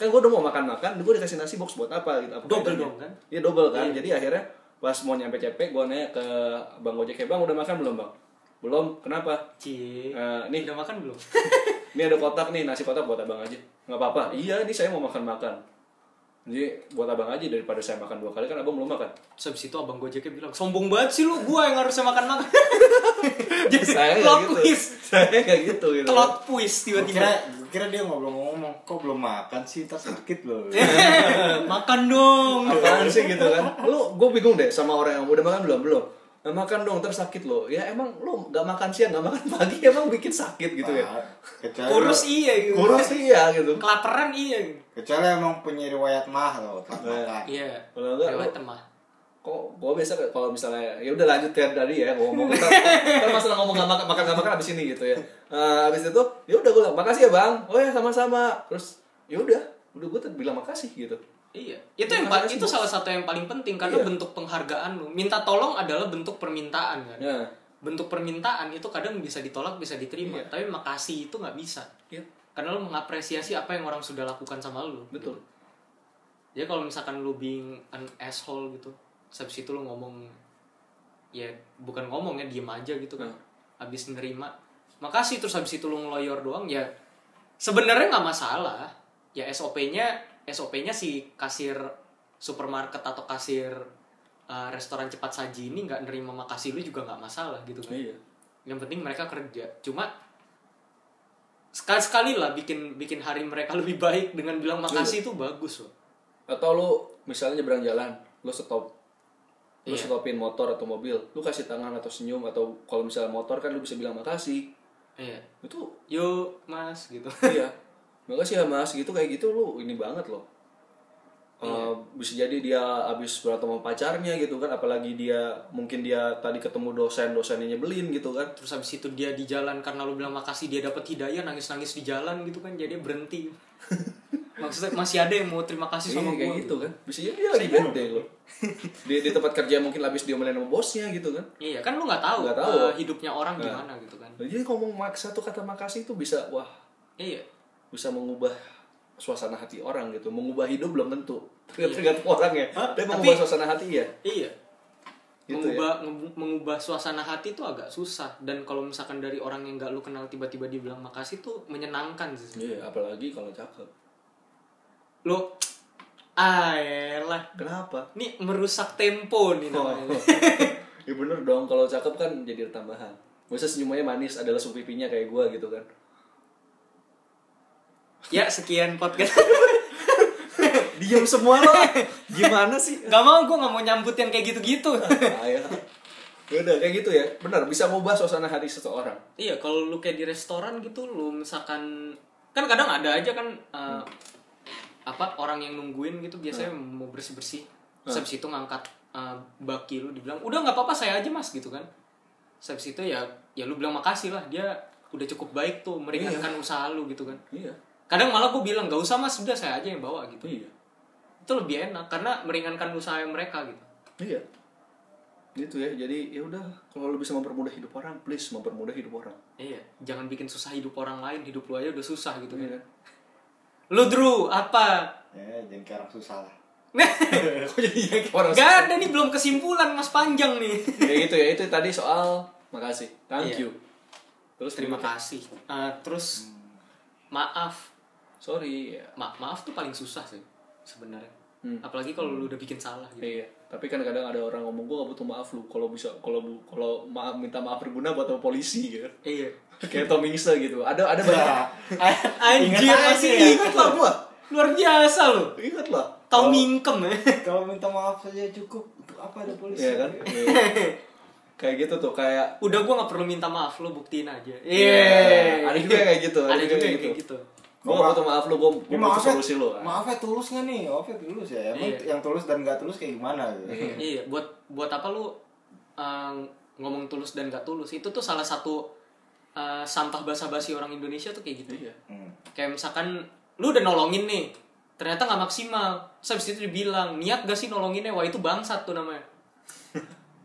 kan gue udah mau makan makan gue dikasih nasi box buat apa gitu apa
Double
bedanya?
dong, kan?
iya double kan jadi akhirnya pas mau nyampe CP gue nanya ke bang ojek "Eh, bang udah makan belum bang belum kenapa
cie
Eh, nih
udah makan belum
ini ada kotak nih nasi kotak buat abang aja nggak apa-apa iya ini saya mau makan makan jadi buat abang aja daripada saya makan dua kali kan abang belum makan
terus habis itu abang gojeknya bilang sombong banget sih lu gue yang harusnya makan makan jadi
saya
plot
kayak gitu
twist
saya kayak gitu gitu
plot twist
Gua kira,
tiba-tiba
gua kira dia ngomong-ngomong, kok belum makan sih, ntar sakit loh.
Iya. makan dong
apaan sih gitu kan lu gue bingung deh sama orang yang udah makan belum belum "Nah, makan dong ntar sakit lo ya emang lu gak makan siang gak makan pagi emang bikin sakit gitu ya
Ah, Kecuali
kurus iya gitu.
kurus iya gitu
kelaparan iya
kecuali emang punya riwayat mah loh, telat makan.
iya
Kalau enggak,
lewat
lu-
temah
kok gue biasa kayak kalau misalnya ya udah lanjut ya tadi ya ngomong ntar, ntar masalah ngomong gak makan makan gak makan abis ini gitu ya Eh, abis itu ya udah gue bilang makasih ya bang oh ya sama-sama terus ya udah udah gue bilang makasih gitu
iya itu yang pa- itu salah satu yang paling penting karena
Iya.
bentuk penghargaan lu minta tolong adalah bentuk permintaan kan
ya
bentuk permintaan itu kadang bisa ditolak bisa diterima tapi makasih itu nggak bisa
Iya.
karena lu mengapresiasi apa yang orang sudah lakukan sama lu
betul
jadi kalau misalkan lu being an asshole gitu terus habis itu lu ngomong ya bukan ngomong ya diem aja gitu kan
Hmm.
habis nerima makasih terus habis itu lu ngeloyor doang ya sebenarnya nggak masalah ya SOP-nya SOP-nya si kasir supermarket atau kasir uh, restoran cepat saji ini nggak nerima makasih lu juga nggak masalah gitu kan
iya
yang penting mereka kerja cuma sekali sekali lah bikin bikin hari mereka lebih baik dengan bilang makasih itu bagus loh
atau lu misalnya nyebrang jalan lu stop lu
Iya.
stopin motor atau mobil lu kasih tangan atau senyum atau kalau misalnya motor kan lu bisa bilang makasih
iya
itu
yuk mas gitu
iya makasih ya mas gitu kayak gitu lu ini banget loh
Iya.
Eh, bisa jadi dia habis berantem sama pacarnya gitu kan apalagi dia mungkin dia tadi ketemu dosen dosennya nyebelin gitu kan
terus habis itu dia di jalan karena lu bilang makasih dia dapat hidayah nangis nangis di jalan gitu kan jadi berhenti maksudnya masih ada yang mau terima kasih
Iya,
sama
kayak
gue
gitu kan bisa jadi dia lagi bete loh di, di tempat kerja mungkin habis diomelin sama bosnya gitu kan
iya kan lu nggak tahu,
Nggak tahu.
eh, hidupnya orang gimana gitu kan
Nah, jadi ngomong maksa tuh kata makasih itu bisa wah
iya
bisa mengubah suasana hati orang gitu mengubah hidup belum tentu tergantung orang ya tapi mengubah suasana hati ya
iya
Gitu
mengubah nge- mengubah suasana hati itu agak susah dan kalau misalkan dari orang yang nggak lu kenal tiba-tiba dibilang makasih tuh menyenangkan sih
iya apalagi kalau cakep
lo ayolah
kenapa
ini "Ah, merusak tempo nih namanya
ya bener dong kalau cakep kan jadi tambahan Maksudnya senyumnya manis adalah supipinya kayak gua gitu kan
ya sekian podcast
Diam semua lo Gimana sih?
Gak mau gue gak mau nyambut yang kayak gitu-gitu
Ayah. Udah kayak gitu Nah, ya Bener bisa mengubah suasana hati seseorang
Iya kalau lu kayak di restoran gitu Lu misalkan Kan kadang ada aja kan eh, Apa orang yang nungguin gitu Biasanya mau bersih-bersih Terus habis itu ngangkat eh, baki lu Dibilang udah gak apa-apa saya aja mas gitu kan Terus habis itu ya Ya lu bilang makasih lah Dia udah cukup baik tuh Meringankan usaha lu gitu kan
Iya
Kadang malah gue bilang gak usah mas Udah saya aja yang bawa gitu
Iya
Itu lebih enak Karena meringankan usaha mereka gitu
Iya. Gitu ya. Jadi ya udah kalau lu bisa mempermudah hidup orang, please mempermudah hidup orang.
Iya, jangan bikin susah hidup orang lain, hidup lu aja udah susah gitu
Iya
kan.
kan?
Lu Drew, apa?
ya jangan kayak orang susah lah
Kok jadi yang kayak orang
Gak ada nih belum kesimpulan Mas Panjang nih.
ya itu ya itu tadi soal makasih thank
Iya.
you terus
Terima
berikutnya.
kasih. Eh, terus maaf.
sorry ya.
Ma- maaf tuh paling susah sih sebenarnya.
Hmm.
Apalagi kalau lu udah bikin salah gitu.
iya tapi kan kadang ada orang ngomong gua gak butuh maaf lu kalau bisa kalau bu- kalau maaf minta maaf berguna buat sama polisi gitu
Iya.
kayak Tom Hanks lah gitu ada ada banyak
Anjir
Ingat aja
masih
ya.
ingat
lah gua
Luar biasa lu.
ingat lah
Tau mingkem ya.
Nah, kalau minta maaf saja cukup untuk apa ada polisi
Iya kan Iya. kayak gitu tuh kayak
Udah gua nggak perlu minta maaf, lu buktiin aja. Iya.
ada juga kayak gitu
Ada juga yang kayak gitu.
gua gak butuh maaf lu gua gua
Ini
butuh
maafnya,
solusi lu
maafnya tulus nggak nih? Maafnya tulus ya. Emang
ah. Iya.
yang tulus dan nggak tulus kayak gimana? Gitu?
Iya, buat buat apa lu eh, ngomong tulus dan gak tulus? Itu tuh salah satu eh, sampah basa-basi orang Indonesia tuh kayak gitu.
iya
Hmm.
Kayak misalkan lu udah nolongin nih, ternyata nggak maksimal. Terus habis itu dibilang, niat gak sih nolonginnya? Wah itu bangsat tuh namanya.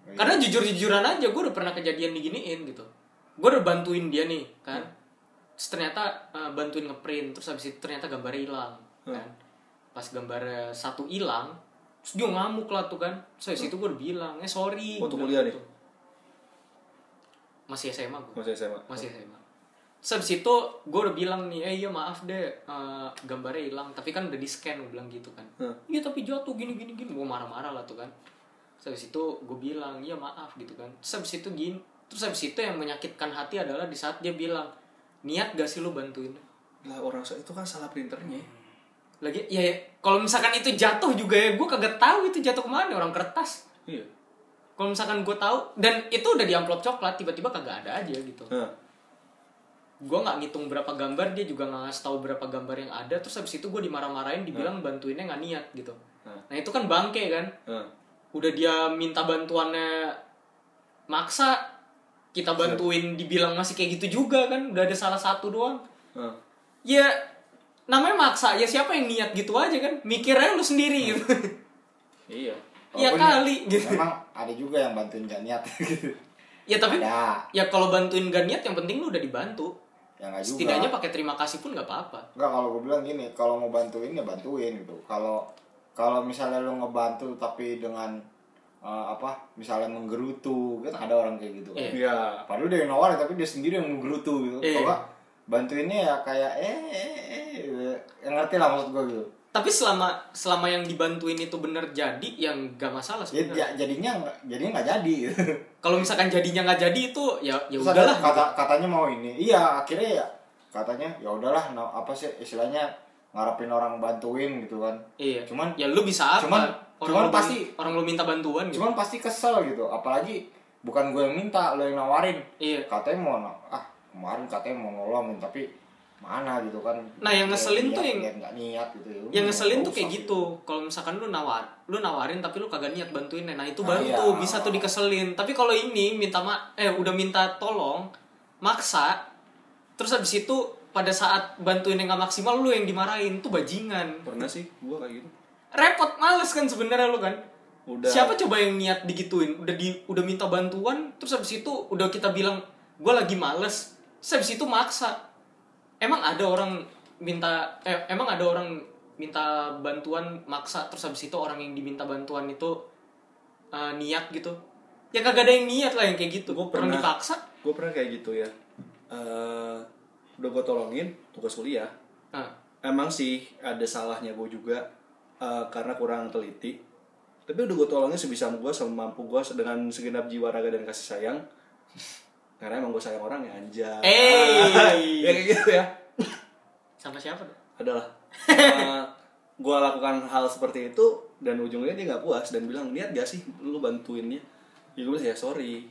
Iya.
Karena jujur-jujuran aja, gue udah pernah kejadian diginiin gitu. Gue udah bantuin dia nih, kan.
Hmm.
Terus ternyata eh, bantuin ngeprint, terus habis itu ternyata gambarnya hilang,
Hmm.
kan. Pas gambarnya satu hilang, terus dia ngamuk lah tuh kan. Terus habis itu gue udah bilang, eh sorry.
Waktu Hmm. Oh,
Gua
kuliah
bilang
nih?
gitu. Masih SMA gue
masih SMA
masih SMA Terus abis itu gue udah bilang nih, eh iya maaf deh eh, gambarnya hilang, tapi kan udah di scan gue bilang gitu kan.
Hmm.
Iya tapi jatuh gini gini gini, gue marah-marah lah tuh kan. Terus abis itu gue bilang, iya maaf gitu kan. Terus abis itu gini, terus abis itu yang menyakitkan hati adalah di saat dia bilang, niat gak sih lu bantuin?
lah orang itu kan salah printernya
Lagi, ya, ya, kalau misalkan itu jatuh juga ya, gue kagak tahu itu jatuh kemana orang kertas.
iya
Kalau misalkan gue tahu, dan itu udah di amplop coklat, tiba-tiba kagak ada aja gitu.
Nah,
gue nggak ngitung berapa gambar dia juga nggak ngasih tahu berapa gambar yang ada terus habis itu gue dimarah-marahin dibilang bantuinnya nggak niat gitu
Hmm.
nah itu kan bangke kan
nah.
udah dia minta bantuannya maksa kita bantuin dibilang masih kayak gitu juga kan udah ada salah satu doang
Nah.
ya namanya maksa ya siapa yang niat gitu aja kan mikirnya lu sendiri gitu
iya
ya
Walaupun
kali gitu
Emang ada juga yang bantuin gak niat. gitu.
ya tapi
ada.
ya kalau bantuin gak niat yang penting lu udah dibantu
Ya nggak juga.
setidaknya pakai terima kasih pun nggak apa-apa
Enggak kalau gue bilang gini, kalau mau bantuin ya bantuin gitu. Kalau kalau misalnya lo ngebantu tapi dengan eh, apa? Misalnya menggerutu, kan ada orang kayak gitu kan.
Iya.
iya
Padahal dia yang nawarin tapi dia sendiri yang menggerutu gitu.
Iya.
Kalau nggak, bantuinnya ya kayak eh eh eh gitu. Ya, ngerti lah maksud gue gitu.
tapi selama selama yang dibantuin itu bener jadi yang gak masalah
Ya,
sebenarnya
ya, jadinya nggak- jadinya nggak jadi. Gitu.
kalau misalkan jadinya nggak jadi itu ya ya
Terus ada
udahlah
kata katanya mau ini. Iya, akhirnya ya katanya ya udahlah no- apa sih istilahnya ngarepin orang bantuin gitu kan.
iya
Cuman-
ya lu bisa apa
cuman-
orang
cuman
lu, pasti
pasti-
orang lu minta bantuan gitu
Cuman pasti kesel gitu, apalagi bukan gue yang minta, lo yang nawarin.
iya
Katanya mau no- ah kemarin katanya mau nolongin tapi mana gitu kan.
Nah, yang ngeselin
Niat-
tuh yang-
niat nggak niat gitu. Ya udah,
yang ngeselin
nggak
tuh kayak
usah
gitu kalau misalkan lu nawar lu nawarin tapi lu kagak niat bantuin nah itu
Nah,
baru
iya.
tuh bisa tuh dikeselin tapi kalau ini minta ma eh udah minta tolong maksa terus habis itu pada saat bantuin yang gak maksimal lu yang dimarahin tuh bajingan
pernah sih gua kayak gitu
repot males kan sebenarnya lu kan
Udah.
siapa coba yang niat digituin udah di udah minta bantuan terus habis itu udah kita bilang gue lagi males terus habis itu maksa emang ada orang minta eh, emang ada orang minta bantuan maksa terus habis itu orang yang diminta bantuan itu eh, niat gitu ya kagak ada yang niat lah yang kayak gitu
Gua
orang
pernah.
dipaksa
gue pernah kayak gitu ya Eh, udah gue tolongin tugas kuliah
nah,
emang sih ada salahnya gue juga eh, karena kurang teliti tapi udah gue tolongin sebisa gue semampu gue dengan segenap jiwa raga dan kasih sayang karena emang gue sayang orang ya anjay
Eh.
ya kayak gitu ya
sama siapa tuh?
adalah gue lakukan hal seperti itu dan ujungnya dia nggak puas dan bilang niat gak sih lu bantuinnya ya gue ya sorry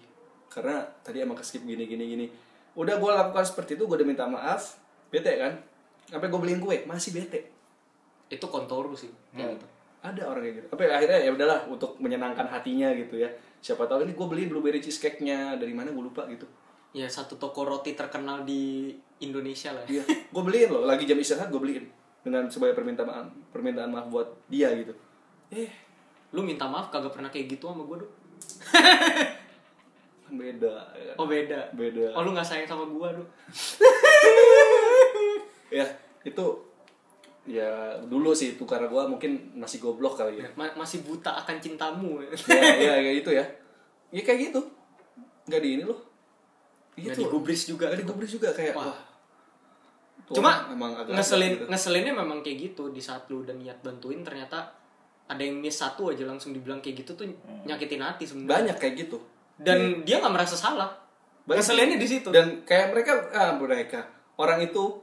karena tadi emang keskip gini gini gini udah gue lakukan seperti itu gue udah minta maaf bete kan sampai gue beliin kue masih bete
itu kontoru sih
Hmm.
kayak gitu
ada orang kayak gitu tapi akhirnya ya udahlah untuk menyenangkan hatinya gitu ya siapa tahu ini gue beli blueberry cheesecake nya dari mana gue lupa gitu
ya satu toko roti terkenal di Indonesia lah ya.
Iya, gue beliin loh. Lagi jam istirahat gue beliin dengan sebagai permintaan permintaan maaf buat dia gitu. Eh,
Lu minta maaf kagak pernah kayak gitu sama gue, Dok.
beda ya kan?
Oh, beda.
Beda.
Oh, lu gak sayang sama gue, Dok.
ya itu ya dulu sih itu karena gue mungkin masih goblok kali ya
Ma- masih buta akan cintamu.
ya, ya kayak gitu ya ya kayak gitu nggak di ini loh Iya
Nggak digubris juga gitu.
nggak digubris juga kayak
Wah.
wah, Tuh
Cuma
orang emang agak-agak
ngeselin
gitu.
ngeselinnya memang kayak gitu di saat lu udah niat bantuin ternyata ada yang miss satu aja langsung dibilang kayak gitu tuh nyakitin hati sebenarnya.
Hmm. banyak kayak gitu
Dan dia nggak merasa salah.
Banyak.
Ngeselinnya di situ.
dan kayak mereka ah, mereka orang itu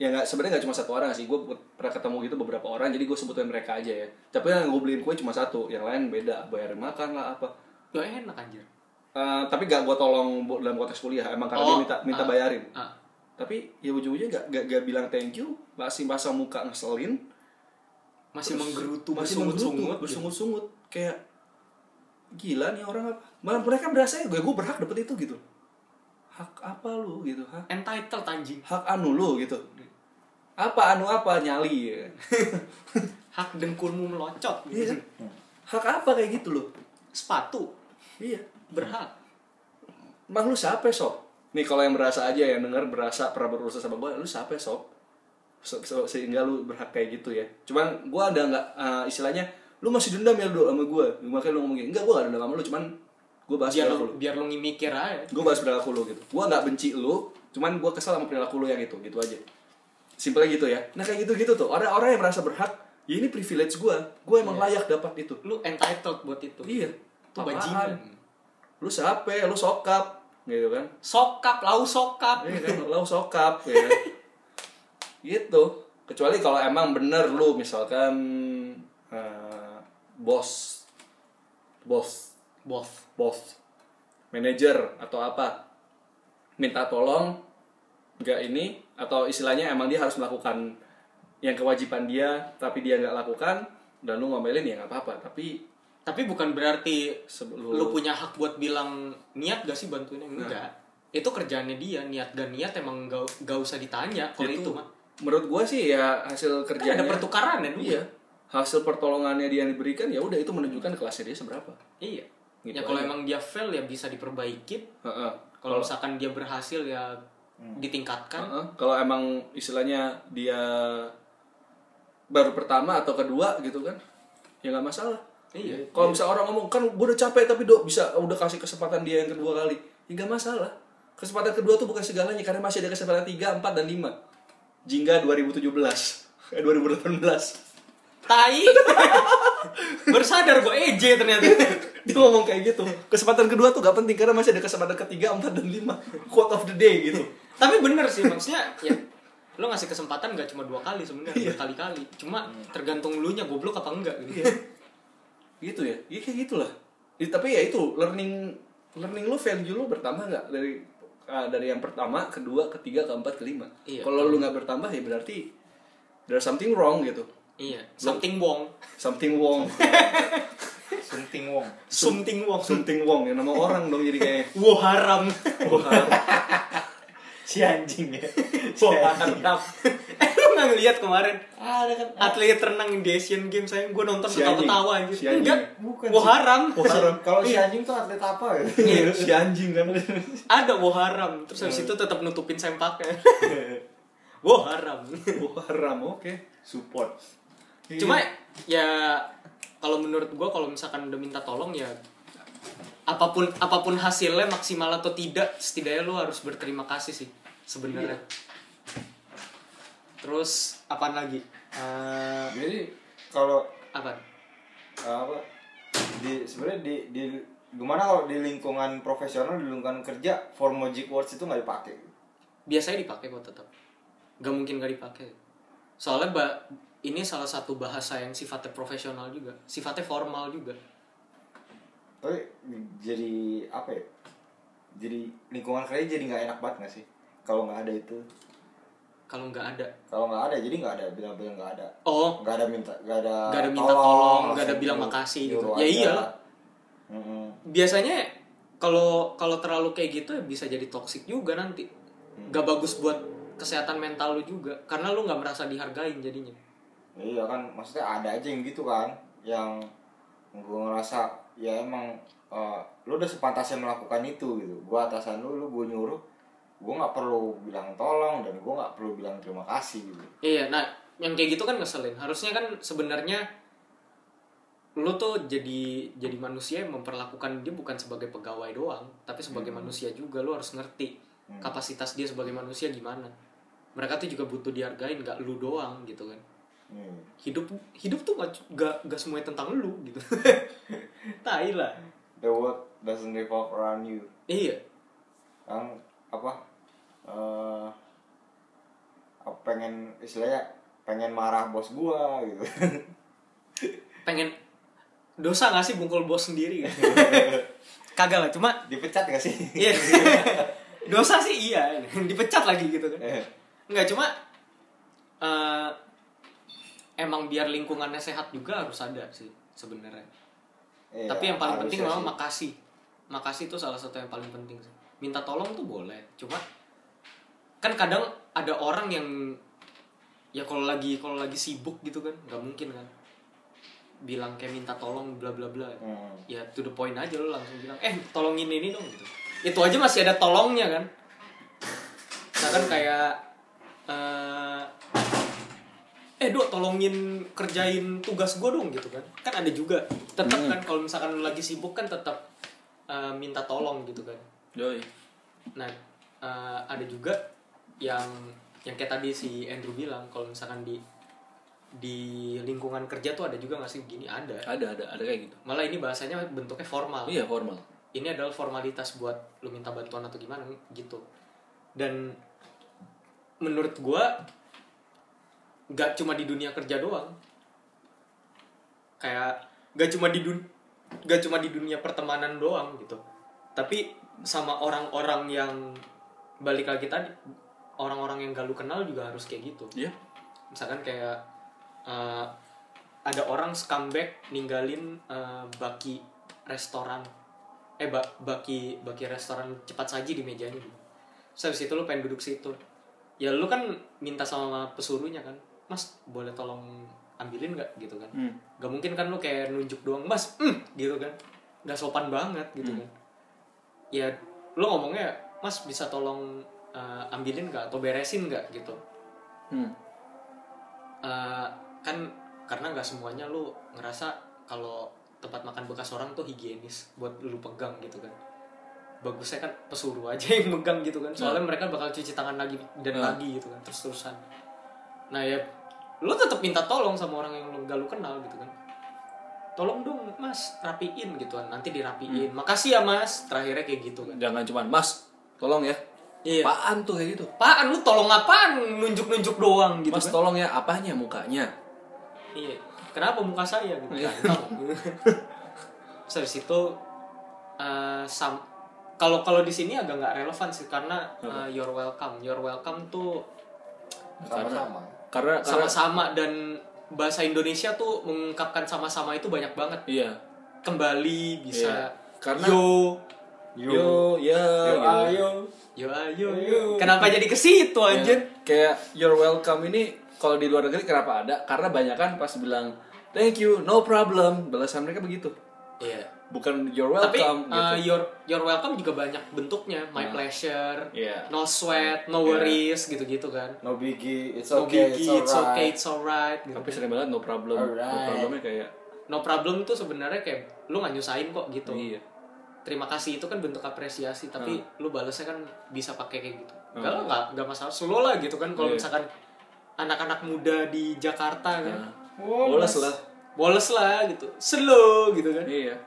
ya nggak sebenarnya nggak cuma satu orang sih gue pernah ketemu gitu beberapa orang jadi gue sebutin mereka aja ya tapi yang gue beliin kue cuma satu yang lain beda bayar makan lah apa
Lo enak anjir.
Eh, tapi gak gue tolong bu- dalam konteks kuliah emang karena
Oh,
dia minta minta
ah.
bayarin
Ah.
tapi ya ujung-ujungnya gak, gak, bilang thank you masih basah muka ngeselin
Masih menggerutu,
masih
bersungut-sungut. gitu.
menggerutu, bersungut-sungut kayak gila nih orang apa malah mereka berasa gue gue berhak dapet itu gitu hak apa lu gitu hak
Entitled anjing.
hak anu lu gitu apa anu apa nyali ya.
Hak dengkulmu melocot.
Iya kan?
Hmm.
hak apa kayak gitu loh
Sepatu
iya
berhak.
emang lu siapa sob nih kalau yang berasa aja yang denger berasa pernah berurusan sama gue lu siapa sob So- so- sehingga lu berhak kayak gitu ya cuman gue ada nggak eh, istilahnya lu masih dendam ya lu sama gue makanya lu ngomong gini enggak gue gak dendam sama lu cuman gue bahas
Biar
perilaku Iya, lu
lo biar lo ngimikir aja.
gue bahas perilaku lu gitu gue nggak benci lu cuman gue kesel sama perilaku lu yang itu gitu aja simpelnya gitu ya nah kayak gitu gitu tuh orang-orang yang merasa berhak ya ini privilege gue gue emang layak dapat itu
Lu entitled buat itu.
iya
Itu bajingan.
lu siapa lu sokap gitu kan
Sokap, lau sokap.
Iya kan, lo sokap ya. kan. gitu. Kecuali kalau emang bener lu misalkan eh, bos, bos,
Bof.
bos, manajer atau apa, minta tolong nggak ini atau istilahnya emang dia harus melakukan yang kewajiban dia tapi dia nggak lakukan dan lu ngomelin ya nggak apa-apa tapi
Tapi bukan berarti
sebelum
lu punya hak buat bilang niat gak sih bantuin enggak itu kerjaannya dia niat gak niat emang gak, gak usah ditanya kalau itu, mah
menurut gua sih ya hasil
kan Gitu. ada
kerjanya
pertukaran ya dulu
Iya. Hasil pertolongannya dia yang diberikan ya udah itu menunjukkan kelasnya dia seberapa.
iya
Gitu
ya kalau
aja.
emang dia fail ya bisa diperbaiki
Heeh.
kalau misalkan dia berhasil ya ditingkatkan
Heeh. Kalau emang istilahnya dia baru pertama atau kedua gitu kan, ya nggak masalah.
iya
Kalau misalnya orang ngomong kan gue udah capek tapi dok bisa oh, udah kasih kesempatan dia yang kedua kali, ya nggak masalah. Kesempatan kedua tuh bukan segalanya karena masih ada kesempatan tiga, empat dan lima. Jingga 2017 eh 2018
tai bersadar gue EJ ternyata
dia ngomong kayak gitu kesempatan kedua tuh gak penting karena masih ada kesempatan ketiga empat dan lima quote of the day gitu
tapi bener sih maksudnya ya lo ngasih kesempatan gak cuma dua kali sebenarnya
Iya.
berkali-kali cuma
Hmm.
tergantung lu nya goblok apa enggak gitu
Iya. gitu ya ya kayak gitulah Ya, tapi ya itu learning learning lu value lu bertambah nggak dari ah, dari yang pertama kedua ketiga keempat kelima
Iya.
kalau lu nggak bertambah ya berarti there's something wrong gitu
iya something wrong
something wrong
Sunting Wong.
something wrong
something wrong ya nama orang dong jadi kayak
Wo haram.
Wah,
Si anjing ya. Si
Wo
anjing. Ah,
haram. eh lu nggak ngeliat kemarin? Ada kan atlet renang di Asian Games saya gue nonton
Si
ketawa
anjing.
ketawa anjir.
Si anjing.
Enggak.
Bukan
Wo
sih.
haram.
Kalau
Iya.
si anjing tuh atlet apa ya?
si anjing kan
Ada wo haram. Terus habis
Hmm.
itu tetap nutupin sempaknya. wo haram.
Wah, haram oke
Support.
Iya.
Cuma ya kalau menurut gue kalau misalkan udah minta tolong ya apapun apapun hasilnya maksimal atau tidak setidaknya lu harus berterima kasih sih sebenarnya. Terus apaan lagi? Eh,
Jadi kalau ah,
apa
apa di sebenarnya di di gimana kalau di lingkungan profesional di lingkungan kerja for magic words itu nggak dipakai
biasanya dipakai kok tetap gak mungkin gak dipakai soalnya ba ini salah satu bahasa yang sifatnya profesional juga sifatnya formal juga
tapi jadi apa ya jadi lingkungan kerja jadi nggak enak banget nggak sih kalau nggak ada itu
kalau nggak ada
kalau nggak ada jadi nggak ada bilang-bilang nggak ada
oh
nggak ada minta nggak ada
Nggak ada minta tolong, nggak ada
langsung
bilang
nyuruh-
makasih gitu.
nyuruh
Ya
aja.
iyalah.
Mm-mm.
biasanya kalau kalau terlalu kayak gitu ya bisa jadi toksik juga nanti gak bagus buat kesehatan mental lu juga karena lu
Ya
nggak merasa dihargain jadinya
iya kan maksudnya ada aja yang gitu kan yang gue ngerasa ya emang eh, lu udah sepantasnya melakukan itu gitu gue atasan lu lu gue nyuruh gue nggak perlu bilang tolong dan gue nggak perlu bilang terima kasih gitu
Iya, nah yang kayak gitu kan ngeselin. Harusnya kan sebenarnya lu tuh jadi jadi manusia yang memperlakukan dia bukan sebagai pegawai doang, tapi sebagai manusia juga lu harus ngerti kapasitas dia sebagai manusia gimana. Mereka tuh juga butuh dihargain, gak lu doang gitu kan.
Hmm.
Hidup hidup tuh gak, gak, gak semuanya tentang lu gitu. tai lah.
the world doesn't revolve around you
Iya.
kan apa eh apa pengen istilahnya pengen marah bos gua gitu
Pengen dosa gak sih bungkul bos sendiri kan? Kagak lah, cuma
dipecat gak sih
Iya. Dosa sih iya, dipecat lagi gitu kan.
Eh,
Enggak cuma eh, emang biar lingkungannya sehat juga harus ada sih sebenarnya.
iya,
Tapi yang paling
harusnya
penting memang
sih.
makasih. Makasih itu salah satu yang paling penting sih. Minta tolong tuh boleh, cuma kan kadang ada orang yang ya kalau lagi kalau lagi sibuk gitu kan, nggak mungkin kan bilang kayak minta tolong bla bla bla
Hmm.
ya to the point aja lo langsung bilang eh tolongin ini dong gitu itu aja masih ada tolongnya kan misalkan kayak eh, eh do tolongin kerjain tugas gue dong gitu kan kan ada juga tetap kan kalau misalkan lo lagi sibuk kan tetap eh, minta tolong gitu kan
Yoi.
nah eh, ada juga yang yang kayak tadi si Andrew bilang kalau misalkan di di lingkungan kerja tuh ada juga nggak sih gini ada
Ada ada ada kayak gitu.
malah ini bahasanya bentuknya formal
Iya formal.
ini adalah formalitas buat lu minta bantuan atau gimana gitu dan menurut gua nggak cuma di dunia kerja doang kayak nggak cuma di dun nggak cuma di dunia pertemanan doang gitu tapi sama orang-orang yang balik lagi tadi orang-orang yang gak lu kenal juga harus kayak gitu
Iya.
misalkan kayak eh, ada orang scumbag ninggalin eh, baki restoran eh ba- baki baki restoran cepat saji di mejanya gitu. Terus habis itu lu pengen duduk situ. Ya lu kan minta sama pesuruhnya kan. Mas, boleh tolong ambilin nggak gitu kan.
Hmm.
Gak mungkin kan lu kayak nunjuk doang, Mas, mm, gitu kan. Gak sopan banget gitu kan. Ya lu ngomongnya, Mas bisa tolong eh, ambilin nggak atau beresin nggak gitu.
Hmm.
Eh, kan karena nggak semuanya lu ngerasa kalau tempat makan bekas orang tuh higienis buat lu pegang gitu kan bagusnya kan pesuruh aja yang megang gitu kan soalnya mereka bakal cuci tangan lagi dan
Nah.
lagi gitu kan terus terusan nah ya lu tetap minta tolong sama orang yang lu gak lu kenal gitu kan tolong dong mas rapiin gitu kan nanti dirapiin
Hmm.
makasih ya mas terakhirnya kayak gitu kan
Jangan cuman Mas, tolong ya.
iya
Apaan tuh kayak gitu?
apaan lu tolong apaan nunjuk nunjuk doang gitu
Mas
kan
tolong ya apanya mukanya?
Iya. Kenapa muka saya gitu?
Iya.
Nggak tahu. Terus habis itu eh, sam- kalau kalau di sini agak nggak relevan sih karena eh, you're welcome. You're welcome tuh
sama-sama
Karena karena
sama-sama dan bahasa Indonesia tuh mengungkapkan sama-sama itu banyak banget.
iya.
Kembali bisa
Iya. Karena-
yo
Yo, ya. gitu.
ayo
yo ayo. Kenapa jadi ke situ
Ya,
anjir?
kayak you're welcome ini kalau di luar negeri kenapa ada? Karena banyak kan pas bilang thank you, no problem. Balasan mereka begitu.
Iya.
Bukan you're
Tapi
welcome
eh,
gitu.
your your welcome juga banyak bentuknya. My pleasure,
Iya.
no sweat, no worries gitu-gitu kan.
no biggie it's
no
okay
biggie, it's
it's
okay,
alright
it's alright. gitu.
Tapi sering banget no problem. No
Alright.
problemnya kayak
No problem tuh sebenarnya kayak lu nggak nyusahin kok gitu.
iya. Hmm.
Terima kasih itu kan bentuk apresiasi, tapi lu balesnya kan bisa pakai kayak gitu. Enggak lah, nggak- nggak masalah. Slow lah gitu kan kalau
Iya.
misalkan anak-anak muda di Jakarta kan.
Nah, bolas lah.
Boles lah gitu. Slow gitu kan.
Iya.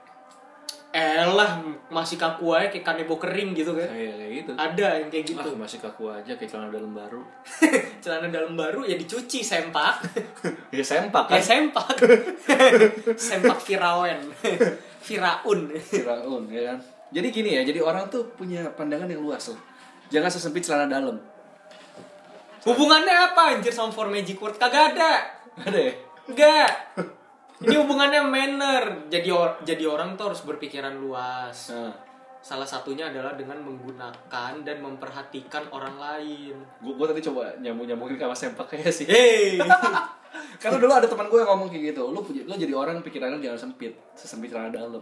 Elah masih kaku aja kayak kanebo kering gitu kan.
Kayak kayak gitu.
Ada yang kayak gitu.
Ah, masih kaku aja kayak celana dalam baru.
Celana dalam baru ya dicuci sempak.
Ya sempak
Ya
kan.
sempak. sempak Firaun. Firaun.
Firaun ya kan. Jadi gini ya, jadi orang tuh punya pandangan yang luas loh. Jangan sesempit celana dalam.
Hubungannya apa anjir sama Four Magic Word? Kagak ada.
Ada ya?
Enggak. Ini hubungannya manner. Jadi or- jadi orang tuh harus berpikiran luas.
Nah,
Salah satunya adalah dengan menggunakan dan memperhatikan orang lain.
gua, gua tadi coba nyambung-nyambungin sama sempak kayak ya sih.
Hey.
Karena dulu ada teman gue yang ngomong kayak gitu, lu punya- lu jadi orang pikirannya jangan sempit, sesempit celana dalam.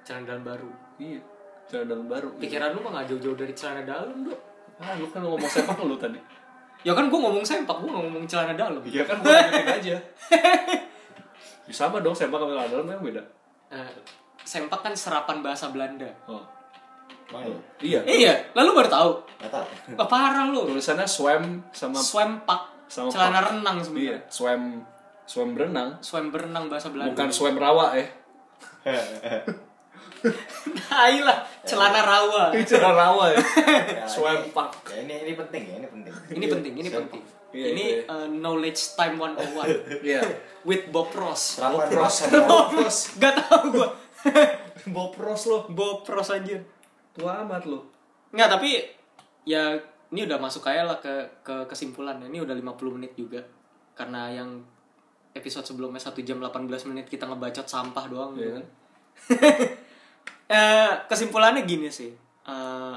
celana dalam baru
Iya, celana dalam baru.
pikiran lu mah nggak jauh-jauh dari celana dalam dok
Ah, lu kan ngomong sepak lu tadi.
ya kan gue ngomong sempak gue ngomong celana dalam
Iya kan gue lanjutin aja. Ya, sama dong sepak sama celana dalam kan beda.
Eh, sempak kan serapan bahasa Belanda
Oh.
Bang, ya?
Iya.
iya lalu baru tahu
Nggak tahu.
Wah, parah lu
Tulisannya swam sama
swempak
sama
celana
pak.
renang
Iya,
sebenarnya
swam swam berenang,
swem berenang bahasa Belanda
bukan swam rawa eh.
Ya,
Ayolah, celana rawa.
Celana rawa ya.
Ya,
swam
ini-
pak.
Ya, ini ini penting ya, ini penting.
Ini penting, ini
Siap.
penting.
Iya,
ini
iya.
uh, knowledge time 101
Iya.
with Bob Ross.
Serapan
Bopros,
bahasa
bopros,
Gak tau gua.
bopros lo.
Bob Ross aja.
Tua amat lo.
Nggak, tapi ya ini udah masuk kayak lah ke, ke kesimpulan. Ini udah 50 menit juga. Karena yang episode sebelumnya 1 jam 18 menit kita ngebacot sampah doang. gitu
Iya.
kan. Eh, kesimpulannya gini sih. Eh,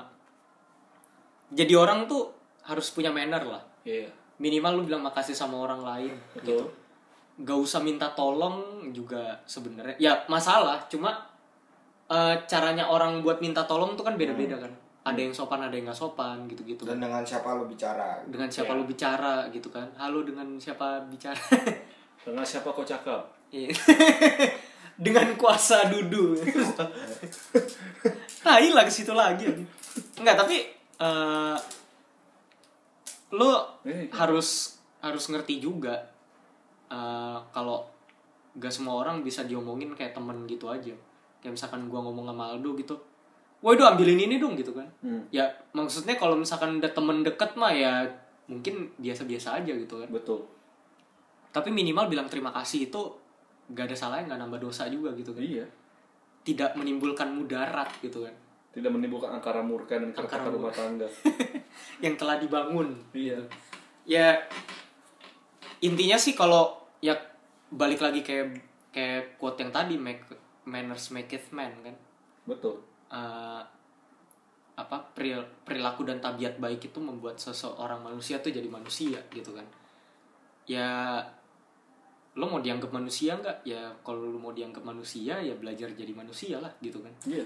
jadi orang tuh harus punya manner lah.
Iya.
minimal lu bilang makasih sama orang lain gitu
Betul.
gak usah minta tolong juga sebenarnya ya masalah cuma eh, caranya orang buat minta tolong tuh kan beda-beda kan ada yang sopan ada yang nggak sopan gitu-gitu kan.
Dan dengan siapa lo bicara?
dengan siapa lu bicara gitu kan halo dengan siapa bicara
Karena siapa kau cakap?
Iya. dengan kuasa dudu nah hilang ke situ lagi nggak tapi eh lu
Eh,
harus harus ngerti juga eh, kalau gak semua orang bisa diomongin kayak temen gitu aja kayak misalkan gua ngomong sama Aldo gitu woi do ambilin ini dong gitu kan
Hmm.
ya maksudnya kalau misalkan udah temen deket mah ya mungkin biasa-biasa aja gitu kan
Betul.
tapi minimal bilang terima kasih itu gak ada salahnya nggak nambah dosa juga gitu kan
Iya.
tidak menimbulkan mudarat gitu kan
Tidak menimbulkan angkara murka dan
Angkara
keretakan rumah
murka.
tangga.
yang telah dibangun
Iya.
ya intinya sih kalau ya balik lagi kayak kayak quote yang tadi make manners maketh man kan
Betul.
Eh, apa peril- perilaku dan tabiat baik itu membuat seseorang manusia tuh jadi manusia gitu kan ya lo mau dianggap manusia nggak ya kalau lo mau dianggap manusia ya belajar jadi manusia lah gitu kan
Iya.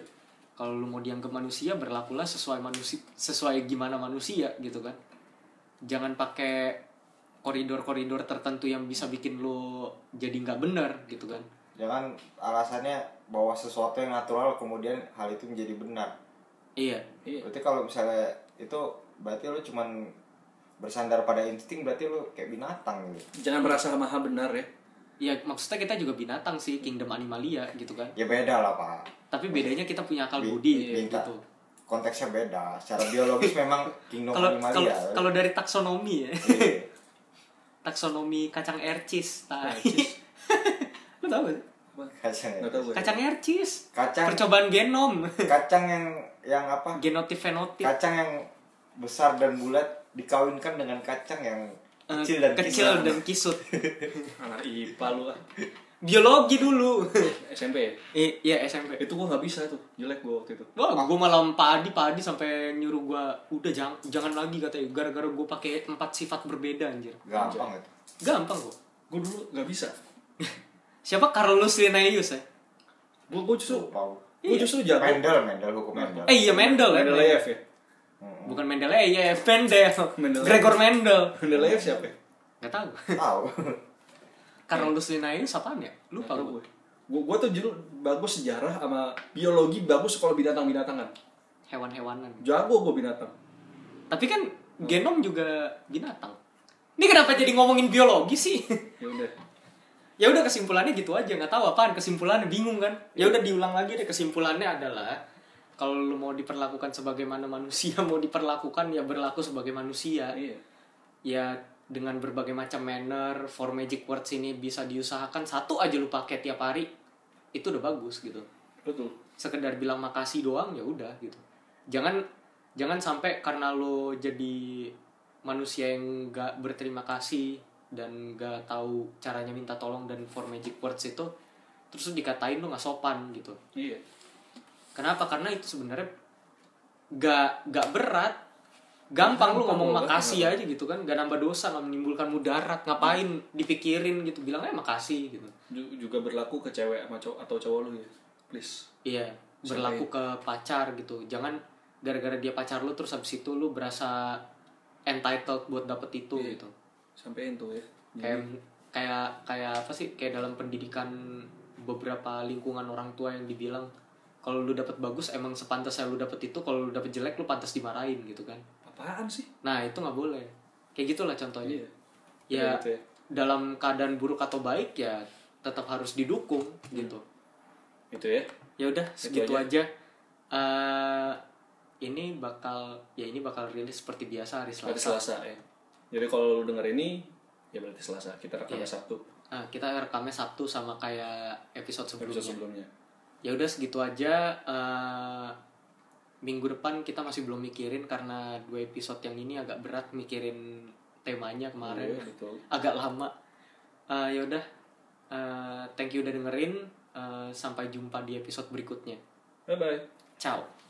kalau lu mau dianggap manusia berlakulah sesuai manusia sesuai gimana manusia gitu kan jangan pakai koridor-koridor tertentu yang bisa bikin lu jadi nggak bener gitu kan
Jangan alasannya bahwa sesuatu yang natural kemudian hal itu menjadi benar.
iya
Iya.
Berarti kalau misalnya itu berarti lo cuman bersandar pada insting berarti lo kayak binatang gitu.
Jangan merasa maha benar ya.
ya maksudnya kita juga binatang sih kingdom animalia gitu kan
Ya beda lah pak.
tapi bedanya kita punya akal
Bi-
budi
minta.
gitu
Konteksnya beda. Secara biologis memang kingdom
kalau kalau
animalia.
kalau dari taksonomi ya
Iya.
taksonomi kacang ercis
Nah,
tai
Ercis.
lu tahu nggak sih?
kacang. ya.
Nggak tahu ya. gue.
kacang ercis
Kacang
percobaan genom
kacang yang yang apa?
genotip fenotip
Kacang yang besar dan bulat dikawinkan dengan kacang yang
Eh,
kecil dan
kecil
kisar.
dan kisut
Anak IPA lu ah.
biologi dulu
SMP ya?
I- iya SMP
Itu gua nggak bisa tuh. Jelek gua waktu itu.
Wah,
Ah.
gue malam padi padi sampai nyuruh gue udah jangan jangan lagi katanya gara-gara gue pakai empat sifat berbeda anjir
gampang itu.
gampang kok
Gua dulu nggak bisa.
siapa Carlos Linnaeus ya
Gua, gua justru
Wow.
gua justru jago.
Mendel, Mendel hukum Iya, Mendel.
eh iya Mendel ya
Mendeleev ya.
Hmm.
bukan Mendel eh iya Mendel
Mendeleev.
Gregor Mendel
Mendeleev siapa ya?
nggak tahu
Tahu.
Carlos Linnaeus apaan ya
Nggak tahu
lupa gue
gue. Gua, gua tuh jujur bagus sejarah sama biologi bagus kalau binatang-binatangan.
hewan-hewanan
Jago gua binatang.
tapi kan genom juga binatang ini kenapa jadi ngomongin biologi sih
Ya udah.
ya udah kesimpulannya gitu aja nggak tahu apaan kesimpulannya bingung kan ya udah diulang lagi deh kesimpulannya adalah kalau lu mau diperlakukan sebagaimana manusia mau diperlakukan ya berlaku sebagai manusia
Iya.
ya dengan berbagai macam manner for magic words ini bisa diusahakan satu aja lu pakai tiap hari itu udah bagus gitu
Betul.
sekedar bilang makasih doang ya udah gitu jangan jangan sampai karena lo jadi manusia yang gak berterima kasih dan gak tahu caranya minta tolong dan for magic words itu terus lu dikatain lo nggak sopan gitu
Iya.
kenapa karena itu sebenarnya gak gak berat gampang lu
Gampang
ngomong
lu,
makasih
gampang.
aja gitu kan gak nambah dosa gak menimbulkan mudarat ngapain dipikirin gitu bilang aja makasih gitu
Ju- juga berlaku ke cewek sama cowok atau cowok lu ya please
iya berlaku ke pacar gitu jangan gara-gara dia pacar lu terus habis itu lu berasa entitled buat dapet itu gitu
sampein tuh ya
kayak kayak kayak apa sih kayak dalam pendidikan beberapa lingkungan orang tua yang dibilang kalau lu dapet bagus emang sepantasnya lu dapet itu kalau lu dapet jelek lu pantas dimarahin gitu kan
apaan sih
nah itu nggak boleh kayak gitulah contohnya
Iya.
ya,
Kayak gitu ya.
dalam keadaan buruk atau baik ya tetap harus didukung gitu
itu ya
ya udah
Hmm. Itu
segitu aja, Eh, ini bakal ya ini bakal rilis seperti biasa hari
hari
Selasa
Selasa ya jadi kalau lu denger ini ya berarti Selasa kita rekamnya Sabtu
Ah, kita rekamnya Sabtu sama kayak episode sebelumnya
episode sebelumnya
ya udah segitu aja Eh, minggu depan kita masih belum mikirin karena dua episode yang ini agak berat mikirin temanya kemarin
Iya, betul
agak lama Eh, ya udah Eh, thank you udah dengerin Eh, sampai jumpa di episode berikutnya
bye bye
ciao